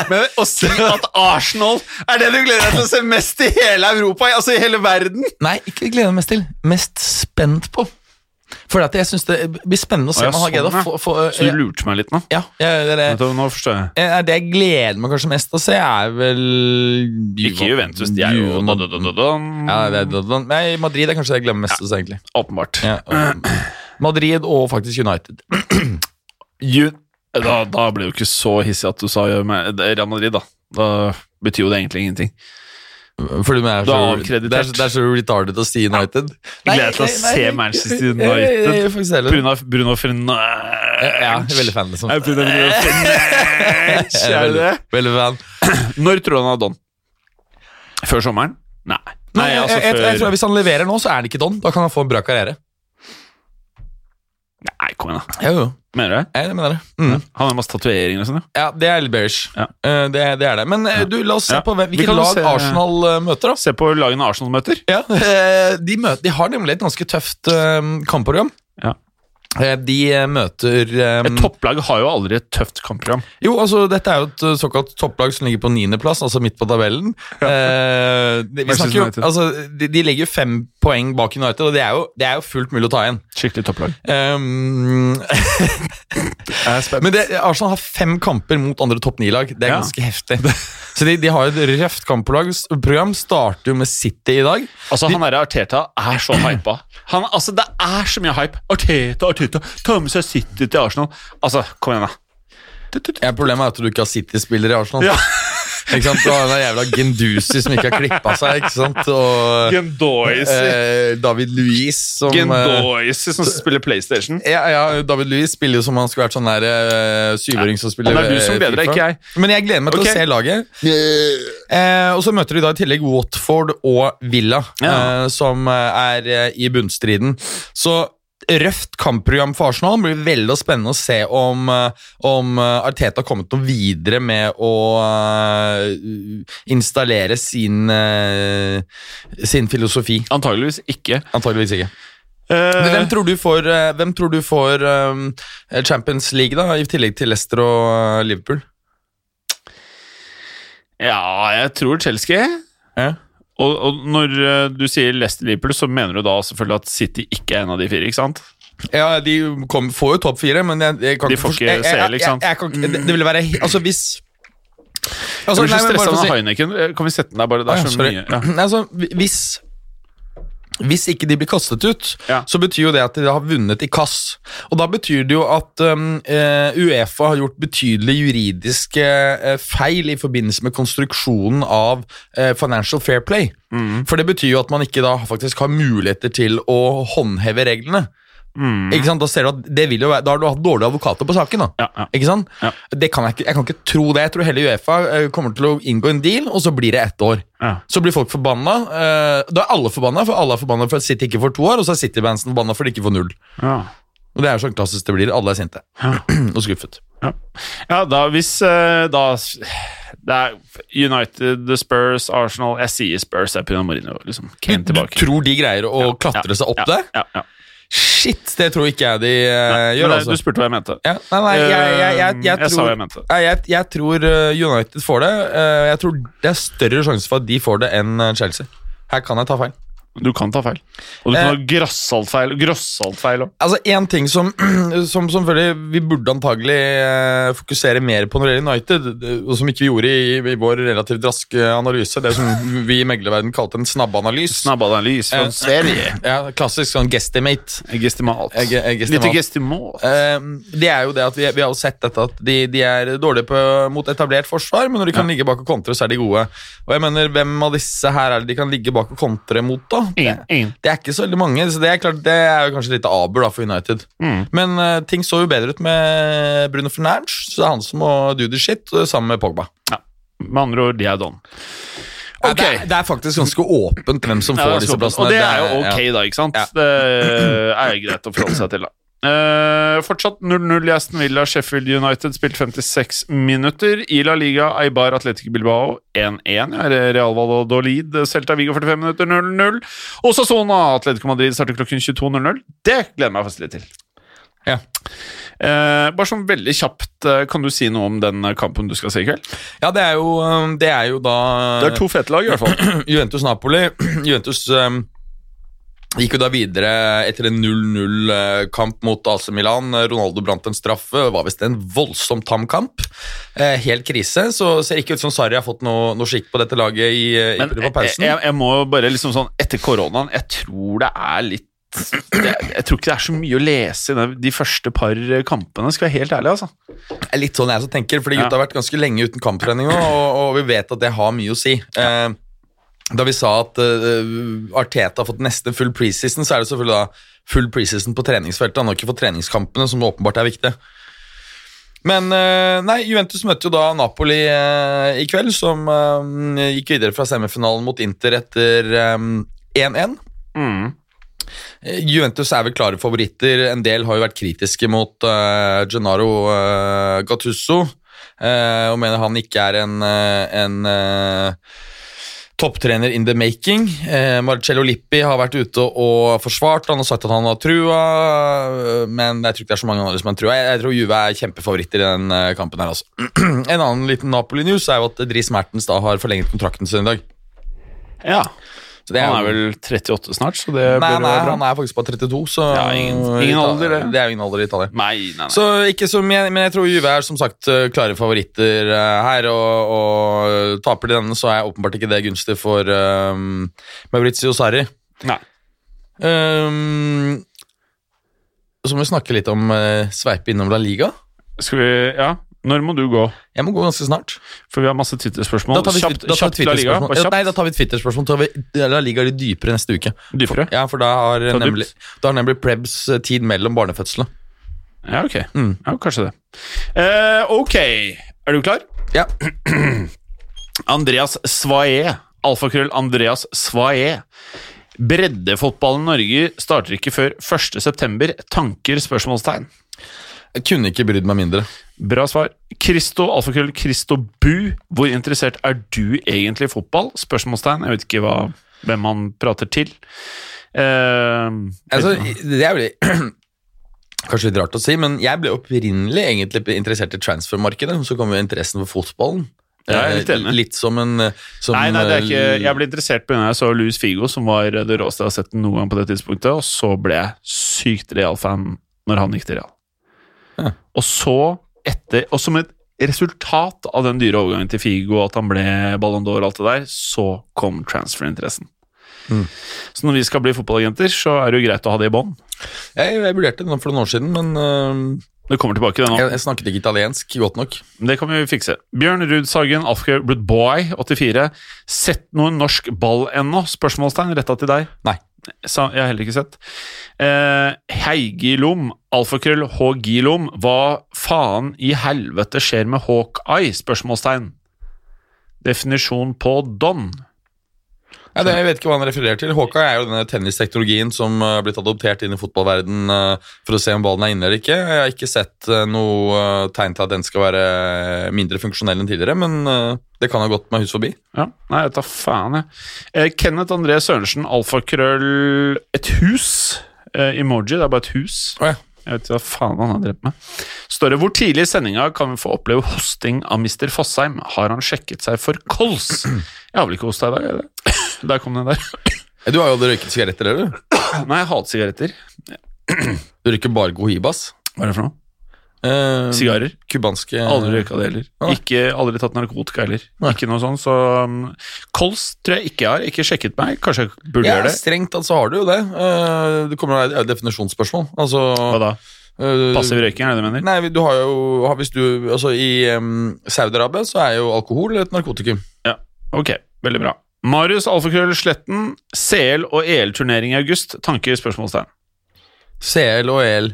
S1: Men å si at Arsenal er det du gleder deg til å se mest i hele Europa, altså i hele verden
S2: Nei, ikke gleder meg mest til. Mest spent på. For at jeg syns det blir spennende å se
S1: Å, ja,
S2: om han har greid å
S1: sånn,
S2: få, få
S1: Så du lurte meg litt nå?
S2: Ja, jeg, det, det,
S1: Vet du, Nå forstår jeg.
S2: Eh, Det jeg gleder meg kanskje mest til å se, er vel
S1: Ikke Juventus, de er jo
S2: Juventus. Ja, det er Dodon. Nei, Madrid er kanskje det jeg gleder meg mest til å se, egentlig.
S1: Åpenbart.
S2: Ja, og- Madrid og faktisk United.
S1: Ju- Da, da ble det jo ikke så hissig at du sa gjør meg- det er Real Madrid, da. Da betyr jo det egentlig ingenting.
S2: Fordi det er
S1: Du
S2: så,
S1: er
S2: det
S1: avkreditert.
S2: er, så- det er så retarded å si United.
S1: Jeg gleder meg til å se Manchester
S2: Jeg, jeg,
S1: United.
S2: jeg, faktisk heller.
S1: Bruno, Bruno Fernandes.
S2: Ja, jeg er veldig fan, liksom.
S1: Er Bruno Fernandes,
S2: Jeg
S1: er
S2: er
S1: det det?
S2: veldig, veldig fan.
S1: Når tror du han er don? Før sommeren? Nei. altså
S2: Nei, altså, jeg, jeg, jeg, jeg tror Hvis han leverer nå, så er han ikke don. Da kan han få en bra karriere.
S1: Nei, kom igjen, da.
S2: Jo, jo.
S1: Mener du det?
S2: Jeg mener det. Mm.
S1: Han har masse tatoveringer og sånn, ja.
S2: Ja, det er litt bearish.
S1: Ja.
S2: Eh, det, det er det. Men eh, du, la oss se
S1: Ja.
S2: på hvem-
S1: Vi
S2: hvilket
S1: kan jo
S2: lag
S1: se-
S2: Arsenal eh, møter, da.
S1: Se på lagene Arsenal møter.
S2: Ja, eh, de, møter, de har nemlig et ganske tøft eh, kampprogram.
S1: Ja.
S2: Eh, De eh, møter eh,
S1: Et topplag har jo aldri et tøft kampprogram.
S2: Jo, altså Dette er jo et eh, såkalt topplag som ligger på niendeplass, altså midt på tabellen. Eh, de, vi
S1: Manchester
S2: snakker jo,
S1: United.
S2: altså, de, de legger jo fem poeng bak United, og det er jo, det er jo fullt mulig å ta igjen.
S1: Skikkelig topplag.
S2: Um, Men det, Arsenal har fem kamper mot andre topp ni-lag. Det er
S1: Ja.
S2: ganske heftig. Så de, de har jo et røft kampprogram. Starter jo med City i dag.
S1: Altså, han derre Arteta er så hypa. Han, altså, det er så mye hype. Arteta, Arteta, ta med seg City til Arsenal. Altså, kom igjen, da.
S2: Ja, problemet er at du ikke har City-spillere i Arsenal.
S1: Ja.
S2: Ikke sant? Du har den der jævla Gendusi som ikke har klippa seg, ikke sant? og
S1: Gendoisi.
S2: eh, David Luiz som eh,
S1: Gendoisi som spiller PlayStation.
S2: ja, ja, David Luiz spiller jo som om han skulle vært sånn der eh, syvåring som spiller
S1: Og det er du som
S2: eh,
S1: bedrer,
S2: FIFA.
S1: ikke jeg.
S2: Men jeg gleder meg til
S1: Ok.
S2: å se laget. Eh, og så møter de da i tillegg Watford og Villa,
S1: Ja.
S2: eh, som eh, er eh, i bunnstriden. Så røft kampprogram for Arsenal. Det blir veldig spennende å se om, eh, om eh, Arteta har kommet noe videre med å eh, installere sin, eh, sin filosofi.
S1: Antageligvis ikke.
S2: Antageligvis ikke. Men hvem tror du får, eh, hvem tror du får eh, Champions League, da, i tillegg til Leicester og eh, Liverpool?
S1: Ja, jeg tror Chelsea.
S2: Ja.
S1: Og, og når eh, du sier Leicester Liverpool, så mener du da selvfølgelig at City ikke er en av de fire, ikke sant?
S2: Ja, de kom, får jo topp fire, men jeg, jeg kan
S1: De får
S2: forst-
S1: ikke
S2: jeg- jeg-
S1: se, liksom.
S2: Jeg, jeg, kan ikke- det, det ville være he- Altså, hvis altså, nei,
S1: jeg blir så
S2: men bare
S1: stressa
S2: for å
S1: med
S2: si-
S1: Heineken. Eh, Kan vi sette den der, bare? Det
S2: Ah, ja,
S1: er så
S2: sorry.
S1: mye. Ja.
S2: Nei, altså, hvi- hvis hvis ikke de blir kastet ut,
S1: Ja.
S2: så betyr jo det at de har vunnet i kass. Og da betyr det jo at um, eh, Uefa har gjort betydelige juridiske eh, feil i forbindelse med konstruksjonen av eh, Financial Fair Play.
S1: Mm.
S2: For det betyr jo at man ikke da faktisk har muligheter til å håndheve reglene. Ikke sant? Da, ser du at det vil jo være, da har du hatt dårlige advokater på saken. da
S1: Mm. Ja, ja.
S2: Ikke sant?
S1: Ja.
S2: Det kan jeg, ikke, jeg kan ikke tro det. Jeg tror heller Uefa eh, kommer til å inngå en deal, og så blir det ett år.
S1: Ja.
S2: Så blir folk forbanna. eh, Da er alle forbanna, for alle er forbanna for at City ikke får to år, og så er City-bansen forbanna for at de ikke får null.
S1: Ja.
S2: Og Det er jo sånn klassisk det blir. Alle er sinte og skuffet.
S1: ja, da hvis eh, Da det er United, The Spurs, Arsenal Jeg sier Spurs. Jeg er Pina Marino, liksom. Kane
S2: Du
S1: tilbake.
S2: tror de greier å klatre seg opp
S1: ja,
S2: der?
S1: Ja, ja.
S2: Shit, det tror ikke jeg de eh,
S1: Men
S2: gjør,
S1: det-
S2: altså.
S1: Du spurte hva jeg mente.
S2: Ja, nei, nei, jeg, jeg, jeg, jeg,
S1: Eh, jeg sa
S2: tror,
S1: hva jeg mente.
S2: Nei, jeg, jeg tror eh, United får det. Eh, Jeg tror det er større sjanse for at de får det enn eh, Chelsea. Her kan jeg ta feil.
S1: Du kan ta feil. Og du
S2: Eh.
S1: kan ha grassaltfeil og grossaltfeil òg.
S2: Altså, En ting som, som selvfølgelig vi burde antagelig eh, fokusere mer på når det gjelder United, og som ikke vi gjorde i, i vår relativt raske analyse, det som vi i meglerverden kalte en snabbeanalys.
S1: Snabbadanalys fra
S2: Eh,
S1: Sverige.
S2: Ja, klassisk sånn gestimate.
S1: Gestimat.
S2: Eh, ge- eh, gestimat.
S1: Lite gestimat.
S2: Eh, det er jo det at vi, vi har jo sett dette at de, de er dårlige på, mot etablert forsvar, men når de kan ligge bak og kontre, så er de gode. Og jeg mener, Hvem av disse her er det de kan ligge bak og kontre mot, da?
S1: En, en.
S2: Det er ikke så veldig mange, så det er klart Det er jo kanskje litt aber da for United.
S1: Mm.
S2: Men eh, ting så jo bedre ut med Bruno Fernandes, så det er han som må do the shit, eh, sammen med Pogba.
S1: Ja. Med andre ord, de er don.
S2: Ja,
S1: Ok.
S2: Det, er, det er faktisk ganske åpent hvem som
S1: Ja,
S2: får
S1: det er
S2: disse
S1: såpass.
S2: plassene.
S1: Og det er jo
S2: ja.
S1: ok, da, ikke sant?
S2: Ja.
S1: Det er jo greit å forholde seg til, da. Eh, fortsatt 0-0 i Aston Villa. Sheffield United spilt 56 minutter. I La Liga, Eibar Atletico Bilbao 1-1. Ja, Real Valladolid, eh, Celta Vigo 45 minutter 0-0. Og Sasona Atletico Madrid starter klokken 22.00. Det gleder jeg meg faktisk litt til.
S2: Ja.
S1: Eh, bare sånn veldig kjapt, eh, kan du si noe om den eh, kampen du skal se i kveld?
S2: Ja, det er jo, eh, det er jo da
S1: Det er to fete lag, i hvert fall.
S2: Juventus-Napoli. Juventus eh, gikk jo da videre etter en 0-0-kamp mot AC Milan. Ronaldo brant en straffe. Det var visst en voldsomt tam kamp. Eh, helt krise. Så ser ikke ut som Sarri har fått noe, noe skikk på dette laget i, eh, i
S1: Men eh,
S2: på
S1: jeg,
S2: pausen.
S1: jeg, jeg må jo bare liksom sånn Etter koronaen, jeg tror det er litt det, Jeg tror ikke det er så mye å lese i den- de første par kampene, skal jeg være helt ærlig, altså.
S2: Det er litt sånn jeg som tenker, fordi
S1: Ja.
S2: gutta har vært ganske lenge uten kamptrening nå, og, og vi vet at det har mye å si. Eh, da vi sa at eh, Arteta har fått nesten full preseason, så er det selvfølgelig da full preseason på treningsfeltet. Han har ikke fått treningskampene, som åpenbart er viktig. Men eh, nei, Juventus møtte jo da Napoli eh, i kveld, som eh, gikk videre fra semifinalen mot Inter etter eh, 1-1. Mm. Eh, Juventus er vel klare favoritter. En del har jo vært kritiske mot eh, Gennaro eh, Gattuso eh, og mener han ikke er en, eh, en eh, topptrener in the making. Eh, Marcello Lippi har vært ute og forsvart. Han har sagt at han har trua, eh, men jeg tror ikke det er så mange andre som har trua. Jeg, jeg tror Juve er kjempefavoritter i den eh, kampen her, altså. en annen liten Napoli-news er jo at Dries Mertens da har forlenget kontrakten sin i dag.
S1: Ja.
S2: Så det
S1: Han er
S2: jo-
S1: vel 38 snart, så det
S2: Nei,
S1: bør
S2: nei,
S1: være bra.
S2: han er faktisk bare 32, så
S1: Ja, ingen- ingen alder, det.
S2: det er jo ingen alder i Italia.
S1: Nei, nei, nei.
S2: Så ikke så mye, men jeg tror Juve er som sagt eh, klare favoritter eh, her, og, og taper de denne, så er åpenbart ikke det gunstig for um, Maurizio Sarri.
S1: nei.
S2: Ehm, så må vi snakke litt om eh, sveipe innom La Liga.
S1: Skal vi Ja, når må du gå?
S2: Jeg må gå ganske snart.
S1: For vi har masse Twitter-spørsmål.
S2: Da tar vi,
S1: Kjapt-
S2: da tar
S1: kjapt
S2: vi
S1: La Liga,
S2: Twitter-spørsmål.
S1: bare
S2: Ja, nei, da
S1: kjapt.
S2: tar vi et Twitter-spørsmål. så tar vi La Liga litt dypere neste uke.
S1: Dypere?
S2: Ja, for da har
S1: Ta dypt.
S2: nemlig, da har nemlig Prebz eh, tid mellom barnefødslene.
S1: Ja, ok.
S2: Mm.
S1: Ja, kanskje det. Eh, ok, er du klar?
S2: Ja.
S1: Andreas Svaé. Alfakrøll Andreas Svaé. Breddefotballen i Norge starter ikke før 1.9. Tanker? spørsmålstegn.
S2: Jeg kunne ikke brydd meg mindre.
S1: Bra svar. Christo, alfakrøll Christo Bu. Hvor interessert er du egentlig i fotball? Spørsmålstegn. Jeg vet ikke hva, hvem han prater til. Eh,
S2: Altså, det er jo Kanskje litt rart å si, men jeg ble opprinnelig egentlig interessert i transfermarkedet. Så kom jo interessen for fotballen.
S1: Jeg er litt enig.
S2: Eh, Litt som en eh, som,
S1: Nei, nei, det er ikke,
S2: eh,
S1: jeg ble interessert på grunn av jeg så Louis Figo, som var det råeste jeg har sett noen gang på det tidspunktet, og så ble jeg sykt Real-fan når han gikk til Real.
S2: Ja.
S1: Og så, etter, og som et resultat av den dyre overgangen til Figo, at han ble Ballon d'Or og alt det der, så kom transferinteressen.
S2: Mm.
S1: Så når vi skal bli fotballagenter, så er det jo greit å ha det i bånd.
S2: jeg, jeg vurderte det nå for noen år siden, men eh,
S1: Det kommer tilbake, det nå.
S2: jeg, jeg snakket ikke italiensk godt nok.
S1: Det kan vi fikse. Bjørn Rudsagen, Alfgøy Boy, 84. Sett noen norsk ball ennå? Spørsmålstegn retta til deg.
S2: Nei.
S1: Sa, jeg har heller ikke sett. Eh, Heigilom, alfakrøll H-gilom. Hva faen i helvete skjer med Hawkeye? Spørsmålstegn. Definisjon på don.
S2: Ja, det, jeg vet ikke hva han refererer til. Hawkeye er jo denne tennisteknologien som eh, har blitt adoptert inn i fotballverden eh, for å se om ballen er inne eller ikke. Jeg har ikke sett eh, noe eh, tegn til at den skal være eh, mindre funksjonell enn tidligere, men eh, det kan ha gått meg hus forbi.
S1: Ja, nei, jeg tar faen, jeg. Eh, Kenneth André Sørensen, alfakrøll Et hus. Eh, emoji, det er bare et hus.
S2: Å ja.
S1: Jeg vet ikke hva faen han har drept med. Står det hvor tidlig i sendinga kan vi få oppleve hosting av Mr. Fossheim? Har han sjekket seg for kols? Jeg har vel ikke hosta i dag? er det? Der kom den der.
S2: Eh, Du har jo aldri røyket sigaretter, eller? du?
S1: Nei, jeg hater sigaretter.
S2: Du røyker bare cohibas.
S1: Hva er det for noe? Eh,
S2: Eh,
S1: Sigarer.
S2: Kubanske
S1: Aldri røyka det heller.
S2: Nei.
S1: Ikke, aldri tatt narkotika heller. Ikke noe sånn, så um, Kols tror jeg ikke jeg har. Ikke sjekket meg. Kanskje jeg burde
S2: Ja,
S1: gjøre det.
S2: strengt tatt så har du jo det. Eh, det kommer det er jo et definisjonsspørsmål. Altså
S1: Hva da?
S2: eh,
S1: Passiv røyking, er det det du mener?
S2: Nei, du har jo har, Hvis du Altså, i um, Saudi-Arabia så er jo alkohol et narkotikum.
S1: Ja, ok, veldig bra. Marius Alfakrøll Sletten, CL og EL-turnering i august. Tanker? Spørsmålstegn.
S2: CL og EL.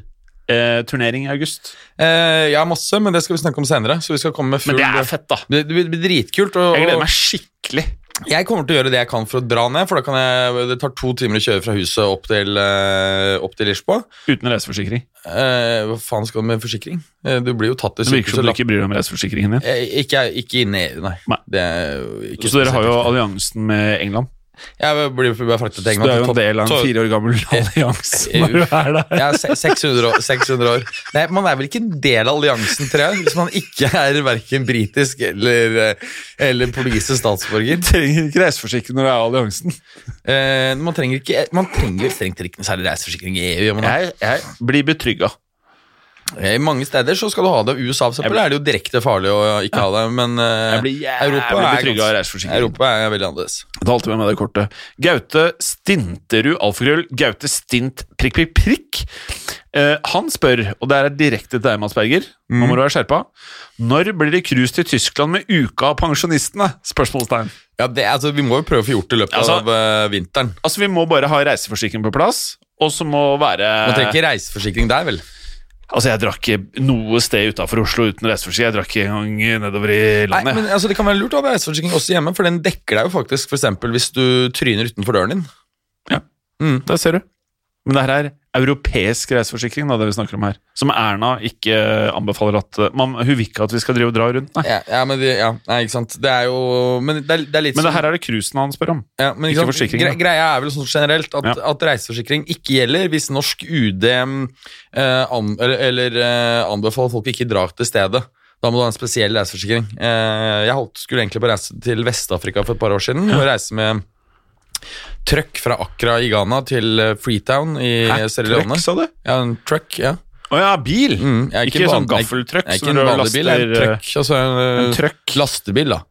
S1: Eh, turnering i august.
S2: Eh, jeg har masse, men det skal vi snakke om senere. Så vi skal komme med full
S1: Men det er fett, da.
S2: det, det blir dritkult. Og,
S1: Jeg gleder meg skikkelig.
S2: Jeg kommer til å gjøre det jeg kan for å dra ned, for da kan jeg, det tar to timer å kjøre fra huset opp til, eh, opp til Lisboa.
S1: Uten reiseforsikring.
S2: Eh, hva faen skal du med forsikring? Eh, du blir jo tatt i
S1: Det virker
S2: sykehuset.
S1: som du
S2: lapp-
S1: ikke bryr deg om reiseforsikringen din.
S2: Eh, Ikke, ikke inne i nei.
S1: Nei.
S2: Det er jo ikke
S1: Så dere har jo alliansen med England.
S2: Jeg blir blir fraktet til
S1: Så du
S2: England.
S1: er jo en del av
S2: Så-
S1: en fire år gammel allianse når du er der.
S2: Jeg er se- 600 år. 600 år. Nei, man er vel ikke en del av alliansen, tror jeg, hvis man ikke er verken britisk eller, eh, eller portugisisk statsborger.
S1: Trenger ikke reiseforsikring når du er i alliansen.
S2: Eh, man trenger ikke Man trenger strengt tatt ikke noe særlig reiseforsikring i EU. gjør Man
S1: Jeg, jeg blir betrygga.
S2: Eh, Mange steder så skal du ha det. USA for eksempel,
S1: Jeg blir-
S2: er det jo direkte farlig å ikke ha det, men eh,
S1: Jeg blir jævlig
S2: Europa, er
S1: betrygget av
S2: ganske-
S1: reiseforsikring.
S2: Europa er veldig annerledes.
S1: Ta alltid med meg det kortet. Gaute Stinterud, alfakrøll, Gaute Stint, prikk, prikk, prikk. Eh, han spør, og det er direkte til deg, Mads Berger, nå
S2: Mm.
S1: må du være skjerpa. Når blir det cruise til Tyskland med Uka av pensjonistene? Spørsmålstegn.
S2: Ja, det, altså, Vi må jo prøve å få gjort det i løpet
S1: Altså-
S2: av eh, vinteren.
S1: Altså, vi må bare ha reiseforsikring på plass, og så må være
S2: Man trenger ikke reiseforsikring der, vel?
S1: Altså, jeg drakk ikke noe sted utafor Oslo uten reiseforsikring. Jeg drakk ikke engang nedover i
S2: Nei,
S1: landet.
S2: men altså, Det kan være lurt å ha reiseforsikring også hjemme, for den dekker deg jo faktisk for eksempel, hvis du tryner utenfor døren din.
S1: Mm, Der ser du. Men det her er europeisk reiseforsikring, da, det vi snakker om her. Som Erna ikke eh, anbefaler at man, Hun vil ikke at vi skal drive og dra rundt. Nei.
S2: Ja, ja, men det, ja, nei, ikke sant? Det er jo Men det er, det er litt
S1: Men det
S2: sånn-
S1: her er det cruisen han spør om.
S2: Ja, men ikke
S1: Ikke
S2: sant?
S1: forsikring,
S2: Gre greia er vel sånn generelt at,
S1: Ja.
S2: at reiseforsikring ikke gjelder hvis norsk UD eh, an, eller, eller eh, anbefaler folk ikke dra til stedet. Da må du ha en spesiell reiseforsikring. Eh, jeg holdt, skulle egentlig på reise til Vest-Afrika for et par år siden. Og reise med trøkk fra Accra i Ghana til eh, Freetown i Sierra Leone.
S1: sa du?
S2: Ja, en truck, ja.
S1: Å ja, bil!
S2: Mm, jeg er
S1: ikke
S2: en
S1: sånn
S2: van- jeg-
S1: gaffeltruck
S2: Jeg er ikke
S1: som
S2: en
S1: du
S2: vanlig bil, jeg er en
S1: laster,
S2: truck. Altså, en,
S1: en truck.
S2: Lastebil, da.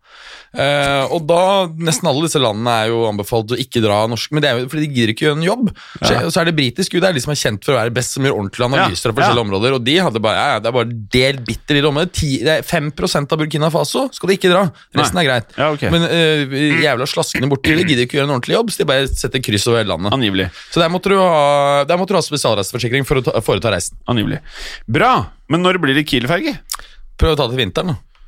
S2: Eh, og da, Nesten alle disse landene er jo anbefalt å ikke dra norsk, men det er jo fordi de gidder ikke gjøre en jobb. Så, og så er det britisk UD, det er de som er kjent for å være best, som gjør ordentlige analyser av
S1: Ja, ja.
S2: forskjellige områder, og de hadde bare ja, ja, det er bare del bitter lille områder. Ti, det er 5 av Burkina Faso skal de ikke dra. Resten
S1: Nei.
S2: er greit.
S1: Ja, ok.
S2: Men eh, jævla slaskene borti, de gidder ikke gjøre en ordentlig jobb, så de bare setter kryss over hele landet.
S1: Angivelig.
S2: Så der måtte du ha, der måtte du ha spesialreiseforsikring for å ta, foreta reisen.
S1: Angivelig. Bra! Men når blir det Kiel-ferge?
S2: Prøv å ta det til vinteren, da.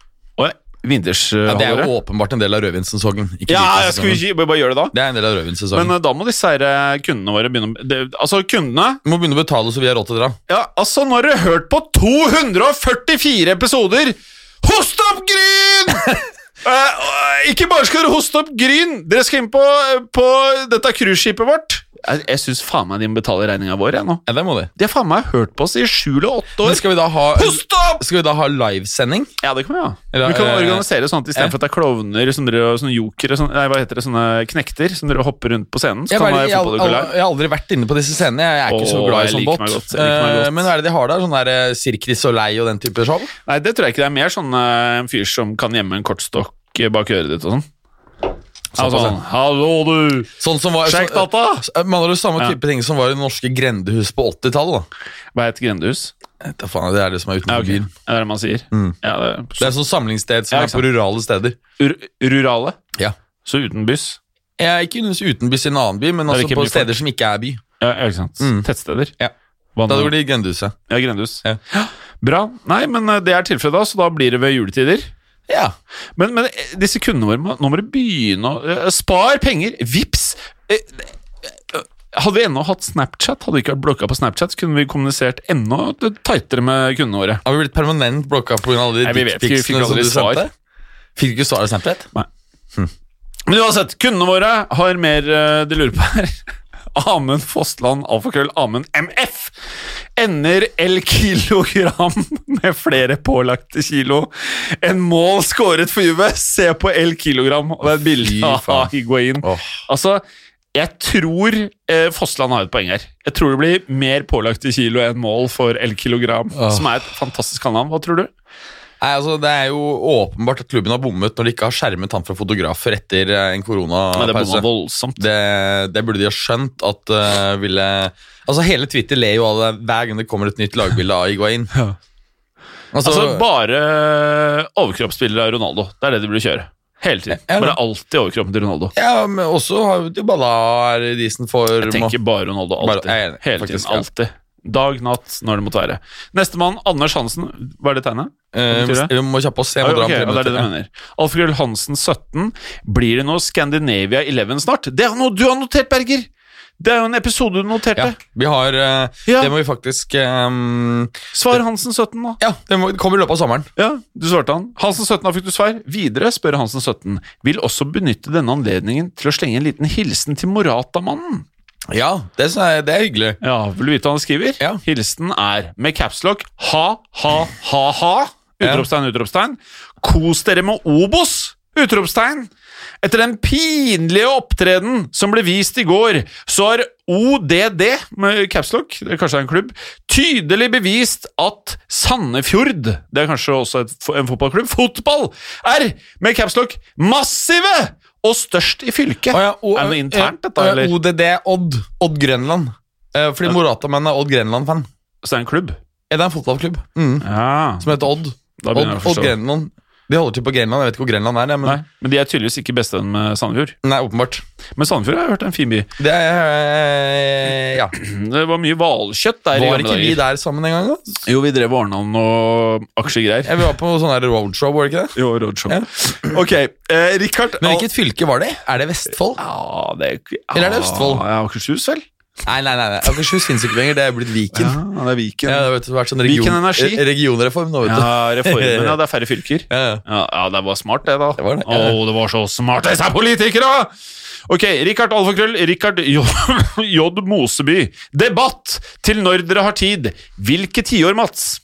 S1: Å ja,
S2: Ja, det er
S1: vintershalvåret.
S2: jo åpenbart en del av rødvinssesongen. ikke
S1: Ja, jeg skulle
S2: vintersesongen.
S1: ikke bare gjøre det da.
S2: Det er en del av rødvinssesongen.
S1: Men eh, da må disse her eh, kundene våre begynne å- det, Altså, kundene
S2: Vi må begynne å betale så vi har råd til å dra.
S1: Ja, altså, nå har dere hørt på 244 episoder! Host opp gryn! Eh, og ikke bare skal dere hoste opp gryn, dere skal inn på, på dette cruiseskipet vårt. Jeg, jeg syns faen meg de må betale regninga vår, jeg nå.
S2: Ja, det må de.
S1: De har faen meg hørt på oss i sju eller åtte
S2: Men
S1: år.
S2: skal vi da ha,
S1: Host opp!
S2: skal vi da ha livesending?
S1: Ja, det kan vi ha.
S2: Eller,
S1: Vi kan
S2: eh,
S1: organisere sånn at istedenfor at det er klovner som dere, og sånne jokere sånne, Nei, hva heter det, sånne knekter som dere hopper rundt på scenen, så
S2: Jeg,
S1: kan
S2: bare,
S1: man
S2: jeg,
S1: være
S2: al- al-
S1: fotballukulær.
S2: jeg har aldri vært inne på disse scenene. Jeg er ikke så
S1: Åh,
S2: glad i
S1: jeg
S2: sånn
S1: liker
S2: båt.
S1: meg godt, jeg liker meg
S2: Eh,
S1: godt.
S2: Men hva er det de har der? Sånn der eh, Cirque du Soleil og den type show?
S1: Nei, det tror jeg ikke. Det er mer sånn eh, en fyr som kan gjemme en kortstokk bak øret ditt og sånn. Altså,
S2: Såpass, ja.
S1: sånn, Hallo, du!
S2: Sånn som var
S1: Sjekk
S2: sånn-
S1: data!
S2: eh, Man har jo samme type ting som var i det norske grendehus på 80-tallet. da.
S1: Hva heter grendehus?
S2: Jeg vet da faen, Det er det som er
S1: Ja,
S2: utenfor
S1: ok.
S2: byen.
S1: Det er det man sier. Ja, det er,
S2: Mm. Det er sånn samlingssted som
S1: Ja,
S2: er
S1: ikke
S2: på rurale steder.
S1: Ur rurale,
S2: Ja.
S1: så uten byss.
S2: Jeg er ikke nødvendigvis utenbys i en annen by, men
S1: Det er
S2: altså
S1: ikke
S2: på
S1: mye folk.
S2: steder som ikke er by.
S1: Ja, ja, ikke sant. Tettsteder.
S2: Mm. Ja.
S1: Vann,
S2: Da går det i grendehuset.
S1: ja, grendehus.
S2: Ja.
S1: Bra. Nei, men eh, det er tilfellet da, så da blir det ved juletider.
S2: Ja.
S1: Men, men eh, disse kundene våre, må- nå må dere begynne å eh, Spar penger! Vips! Eh, eh, Hadde vi ennå hatt Snapchat, hadde vi ikke vært blokka på Snapchat, så kunne vi kommunisert enda tightere med kundene våre.
S2: Har vi blitt permanent blokka pga. alle de
S1: Nei, vi vet ikke, vi fikk
S2: dickpicsene som du
S1: aldri svar.
S2: sendte? Fikk du ikke svar av Snapchat?
S1: Men uansett, kundene våre har mer eh, de lurer på her. Amund Fossland, alfakrøll Amund MF. Ender L kilogram med flere pålagte kilo enn mål skåret for Juve. Se på L kilogram, og det er et
S2: Fy
S1: bilde
S2: faen.
S1: av Higuain.
S2: Åh.
S1: Altså, Jeg tror eh, Fossland har et poeng her. Jeg tror det blir mer pålagt i kilo enn mål for El Kilogram,
S2: Åh.
S1: som er et fantastisk kallenavn. Hva tror du?
S2: Nei, altså, det er jo åpenbart at klubben har bommet når de ikke har skjermet han fra fotografer etter eh, en
S1: Nei, det bomma
S2: koronapause.
S1: voldsomt.
S2: Det, det burde de ha skjønt at eh, ville Altså, hele Twitter ler jo av det hver gang det kommer et nytt lagbilde av Higuain.
S1: Ja.
S2: Altså,
S1: Altså, bare overkroppsbilder av Ronaldo. Det er det de burde kjøre. Hele tiden.
S2: Ja, ja.
S1: Bare alltid overkroppen til Ronaldo.
S2: ja, men også har jo Dybala er i decent form.
S1: Jeg tenker bare Ronaldo.
S2: Bare-
S1: Alltid.
S2: jeg er enig,
S1: Hele
S2: faktisk,
S1: tiden.
S2: ja.
S1: Alltid. Dag, natt, når det måtte være. Nestemann, Anders Hansen. Hva er det tegnet?
S2: Eh,
S1: betyr det?
S2: vi må kjappe oss. Jeg må
S1: Oi,
S2: dra
S1: Ah, ok,
S2: om tre
S1: ja, det er det du
S2: minutter.
S1: mener. Alfred Hansen 17. Blir det noe Scandinavia 11 snart? Det er noe du har notert, Berger! Det er jo en episode du
S2: Ja,
S1: noterte.
S2: vi har eh,
S1: Ja.
S2: Det må vi faktisk eh,
S1: Svar Hansen 17, da.
S2: Ja, det, må, det kommer i løpet av sommeren.
S1: Ja, du svarte han. Hansen 17, da fikk du svar. Videre spør Hansen 17. Vil også benytte denne anledningen til å slenge en liten hilsen til Morata-mannen.
S2: Ja, det, synes jeg- det er hyggelig.
S1: Ja, vil du vite hva han skriver?
S2: Ja.
S1: Hilsen er med capslock ha, ha, ha, ha.
S2: Ja.
S1: Utropstegn, utropstegn. Kos dere med Obos! Utropstegn. Etter den pinlige opptreden som ble vist i går, så har ODD, med capslock, det er kanskje en klubb, tydelig bevist at Sandefjord, det er kanskje også et, en fotballklubb, fotball, er med capslock massive og størst i fylket.
S2: Å ja, og-
S1: er det noe internt, dette,
S2: eh, eh,
S1: eller?
S2: ODD Odd. Odd Grenland. Eh, fordi Morata-menn er Odd Grenland-fan.
S1: Så det er en klubb?
S2: Ja, det er en fotballklubb mm,
S1: Ja.
S2: som heter Odd.
S1: Da
S2: Odd,
S1: begynner jeg å
S2: Odd
S1: forstå.
S2: Grenland. De holder til på Grenland. Jeg vet ikke hvor Grenland er, jeg, men
S1: Nei,
S2: nei.
S1: men de er tydeligvis ikke bestevenn med Sandefjord.
S2: åpenbart.
S1: Men Sandefjord har jeg hørt er en fin by.
S2: Det er eh, Ja.
S1: Mm, Det var mye hvalkjøtt der. i
S2: Var
S1: gamle
S2: ikke vi
S1: dager.
S2: der sammen en gang, da?
S1: Jo, vi drev og ordna noe aksjegreier.
S2: Ja, vi var på sånn her roadshow, var det ikke det?
S1: Jo, roadshow.
S2: Ja.
S1: Ok, eh, Richard
S2: Men hvilket fylke var det? Er det Vestfold?
S1: Ja, det er, ja,
S2: Eller er det Østfold?
S1: Ja, Akershus, vel?
S2: Nei, nei, nei, nei. Akershus finnes ikke lenger. Det er blitt Viken. Ja.
S1: det er Viken.
S2: det
S1: Ja,
S2: har vet du, vært sånn
S1: Viken
S2: region,
S1: Energi.
S2: eh, regionreform nå, vet du.
S1: reformen, ja. Det er færre fylker.
S2: Ja, ja.
S1: Ja, ja, det var smart, det, da.
S2: Det var det,
S1: Å,
S2: ja.
S1: det var så smart, disse politikere! Ok, Richard Alfakrøll, Richard J. J. Moseby. Debatt til når dere har tid. Hvilke tiår, Mats?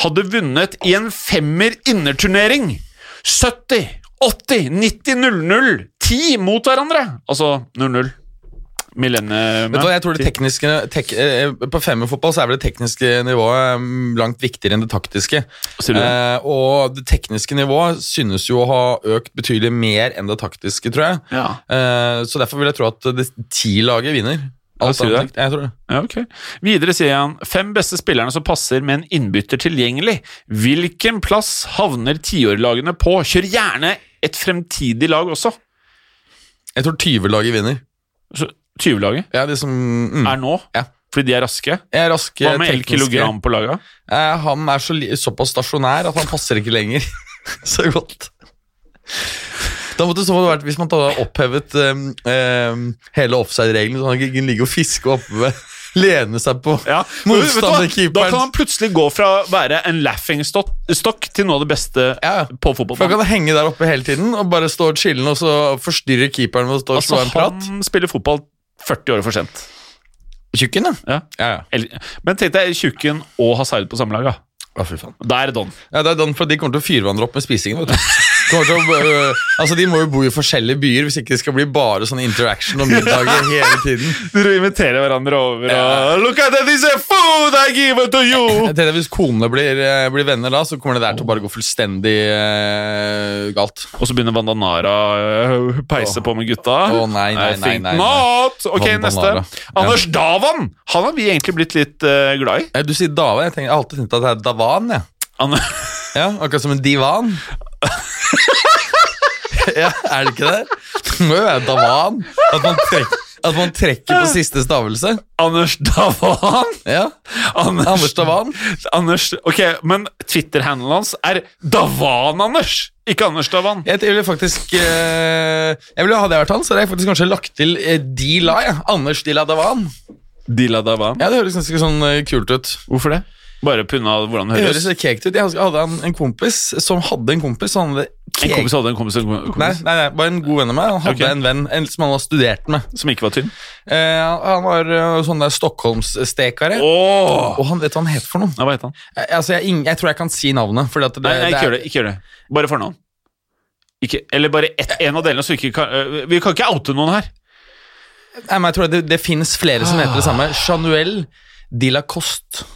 S1: Hadde vunnet i en femmer innerturnering. 70, 80, 90, 00, 10 mot hverandre. Altså 00. Millennium.
S2: Vet du hva, jeg tror det tekniske tek, eh, På femmerfotball så er vel det tekniske nivået mm, langt viktigere enn det taktiske.
S1: Sier du det?
S2: Eh, og det tekniske nivået synes jo å ha økt betydelig mer enn det taktiske, tror jeg.
S1: Ja.
S2: Eh, så derfor vil jeg tro at det ti-laget vinner. Alt
S1: sier du
S2: annet likt. Jeg tror det.
S1: Ja, ok. Videre sier han fem beste spillerne som passer med en innbytter tilgjengelig. Hvilken plass havner tiårlagene på? Kjør gjerne et fremtidig lag også.
S2: Jeg tror 20-laget vinner.
S1: Så 20-laget
S2: Ja, de som mm.
S1: er nå,
S2: Ja.
S1: fordi de er raske.
S2: Jeg er rask, eh,
S1: Hva med 1
S2: tekniske.
S1: kilogram på laga?
S2: Eh, han er så, li- såpass stasjonær at han passer ikke lenger. så godt. Da måtte det så vært Hvis man da hadde opphevet um, um, hele offside-regelen, så han ikke kunne ligge og fiske oppe ved Lene seg på
S1: Ja, men vet du hva? Da kan
S2: motstanderkeeperen.
S1: han plutselig gå fra å være en laughingstokk til noe av det beste
S2: Ja,
S1: på
S2: For han
S1: fotballbanen.
S2: kan henge der oppe hele tiden og bare stå og chille og så forstyrre keeperen med å stå og
S1: Altså,
S2: slå en prat.
S1: han spiller fotball 40 år for sent.
S2: Tjukken,
S1: Ja.
S2: Ja,
S1: Eller- Men tenk deg Tjukken og Hazard på samme lag. da.
S2: Å, fy faen.
S1: Da er det don.
S2: Ja, det er den, for de kommer til å fyre hverandre opp med spisingen. Vet du. Kommer til å, øh, altså, de må jo bo i forskjellige byer hvis ikke det skal bli bare sånn interaction og middager hele tiden.
S1: Dere inviterer hverandre over
S2: Ja.
S1: og Look at this food I give it to you!
S2: Jeg tenker at Hvis konene blir, eh, blir venner da, så kommer det der til å bare gå fullstendig eh, galt.
S1: Og så begynner Vandanara å peise på med gutta.
S2: Å, nei, nei, nei,
S1: I think
S2: nei, nei.
S1: not! Ok,
S2: Vandanara.
S1: neste. Anders Davan! Han har vi egentlig blitt litt eh, glad i.
S2: Eh, Du sier Dava. Jeg, tenker, jeg har alltid tenkt at det er Davan. jeg.
S1: Han,
S2: Ja, akkurat som en divan. ja, er det ikke det? Det må jo være Davan. At man, trek, at man trekker på siste stavelse.
S1: Anders Davan!
S2: Ja,
S1: Anders,
S2: Anders Davan.
S1: Anders, ok, Men Twitter-handelen hans er Davan-Anders, ikke Anders Davan.
S2: Jeg ville faktisk eh, Jeg ville, Hadde jeg vært han, så hadde jeg faktisk kanskje lagt til eh, Dila. Ja. Anders Dila Davan.
S1: Dila Davan.
S2: Ja, Det høres ganske sånn eh, kult ut.
S1: Hvorfor det? Bare pga. hvordan det
S2: Det
S1: høres.
S2: høres kekt ut. Jeg hadde en, en kompis som hadde en kompis. Han hadde
S1: En
S2: kek-
S1: kompis hadde en kompis, en kompis
S2: Nei, nei, nei, bare en god venn av meg. Han hadde
S1: Ok.
S2: en venn en, som han hadde studert med.
S1: som ikke var tynn.
S2: Eh, han var eh, sånn der Stockholmsstekare.
S1: Åh!
S2: Og han vet hva han het for noe.
S1: Ja, hva het han?
S2: Jeg, altså, jeg, ing- jeg tror jeg kan si navnet. Fordi at det,
S1: Nei, nei ikke
S2: er-
S1: gjør det. ikke gjør det Bare fornavn. Ikke, eller bare ett, en av delene. Så vi ikke kan, øh, vi kan ikke oute noen her.
S2: Nei, men jeg tror det, det finnes flere som heter det samme.
S1: Ah.
S2: Chanuel de la Coste.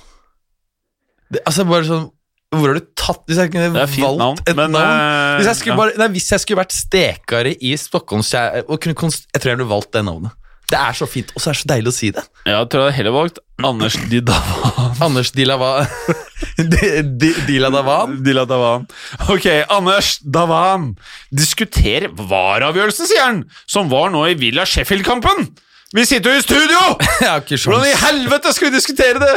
S2: Det, altså, bare sånn Hvor har du tatt Hvis jeg kunne
S1: Det er fint
S2: valgt
S1: navn,
S2: et
S1: men,
S2: navn
S1: eh,
S2: hvis jeg, skulle
S1: ja.
S2: bare, nei, hvis jeg skulle vært stekare i Stockholmskjær og kunne konst- Jeg tror jeg ville valgt det navnet. Det er så fint, og så er det så deilig å si det.
S1: Jeg tror jeg hadde heller valgt Anders Didavan.
S2: Anders Dilava Di- Di- Dila Davan.
S1: Dilla Davan. Ok, Anders Davan diskuter VAR-avgjørelsen, sier han, som var nå i Villa Sheffield-kampen. Vi sitter jo i studio!
S2: Jeg har ikke
S1: Hvordan i
S2: sjans.
S1: helvete skal vi diskutere det?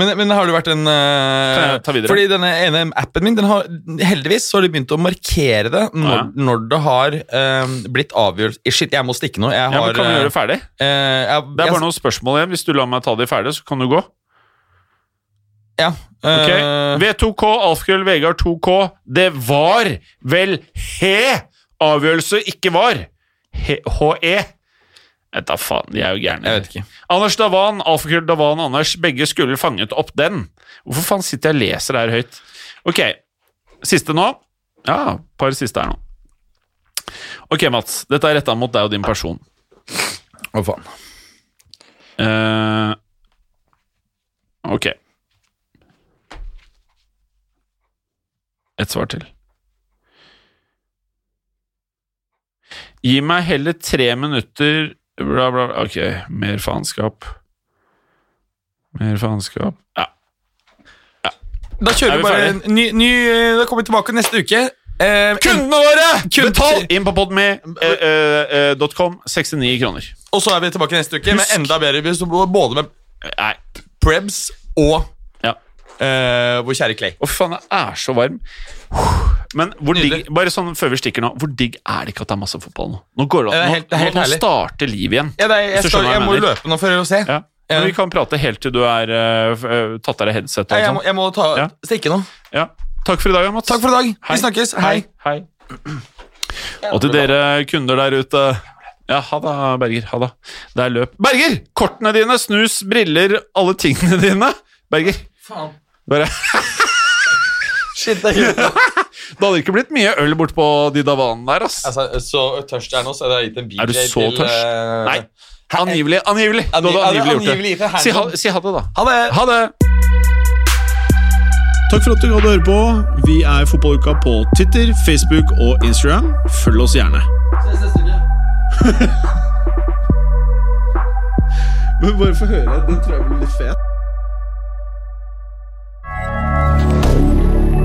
S2: Men, men har det vært en eh,
S1: Kan jeg ta videre?
S2: Fordi denne ene appen min den har, Heldigvis så har de begynt å markere det når,
S1: Ja.
S2: når det har eh, blitt avgjørelse Shit, jeg må stikke nå. Jeg har,
S1: Ja, men Kan vi
S2: eh,
S1: gjøre det ferdig?
S2: eh, jeg,
S1: Det er
S2: jeg-
S1: bare noen spørsmål igjen. Hvis du lar meg ta de ferdig, så kan du gå.
S2: Ja.
S1: Ok,
S2: eh,
S1: V2K, Alfgull, Vegard 2K. Det var vel he avgjørelse ikke var. He- HE. Vet da faen, de er jo gærne.
S2: jeg vet ikke.
S1: Anders Davan, Alfakrøll Davan Anders, begge skulle fanget opp den. Hvorfor faen sitter jeg og leser det her høyt? Ok, siste nå. Ja, par siste her nå. Ok, Mats. Dette er retta mot deg og din person.
S2: Å, faen.
S1: Eh, ok. Et svar til. Gi meg heller tre minutter Bla, bla, bla. Ok, mer faenskap. Mer faenskap Ja.
S2: Da
S1: Er
S2: kjører
S1: vi
S2: vi bare en
S1: ferdig?
S2: ny, ny eh, Da kommer vi tilbake neste uke. Eh,
S1: Kundene våre!
S2: Kun-
S1: Betal inn på podme.com. Eh, eh, eh, .com, 69 kroner.
S2: og så er vi tilbake neste uke med
S1: Husk-
S2: enda bedre buss, både med
S1: Nei.
S2: Prebz og
S1: Ja.
S2: eh, vår kjære Clay.
S1: Å, fy faen, jeg er så varm. Men hvor digg,
S2: Nydelig.
S1: bare sånn før vi stikker nå, hvor digg er det ikke at det er masse fotball nå? Nå går det,
S2: Det er
S1: an-
S2: helt- det er helt
S1: nå, nå, nå
S2: herlig.
S1: starter livet igjen.
S2: Ja, det er,
S1: Hvis du
S2: jeg, skal,
S1: skjønner hva
S2: jeg
S1: jeg
S2: må
S1: mener.
S2: løpe nå for å se.
S1: Ja. Men vi kan prate helt til du er øh, f- øh, tatt av deg headsetet
S2: Nei, jeg,
S1: og
S2: må,
S1: sånn.
S2: jeg må ta,
S1: Ja.
S2: stikke nå.
S1: Ja. Takk for i dag, Mats.
S2: Takk for i dag.
S1: Hei.
S2: Vi snakkes. Hei.
S1: Hei. Hei. Og til dere kunder der ute Ja, ha det, Berger. Ha det. Det er løp. Berger! Kortene dine, snus, briller, alle tingene dine. Berger.
S2: Faen.
S1: Bare.
S2: Shit, det er ikke
S1: Det hadde ikke blitt mye øl bortpå de davanen der, ass.
S2: altså, Så tørst jeg er nå, så hadde jeg gitt en BJ
S1: Er du så
S2: til
S1: tørst?
S2: eh,
S1: Nei. Angivelig. Angivelig. Du
S2: Angi-
S1: hadde angivelig gjort
S2: angivelig gitt en
S1: det. Si ha,
S2: handjob.
S1: si ha det, da.
S2: Ha det!
S1: Ha det!
S3: Takk for at du gadd å høre på. Vi er Fotballuka på Twitter, Facebook og Instagram. Følg oss gjerne.
S4: Ses neste uke.
S3: Men bare få høre. Den tror jeg blir litt fet.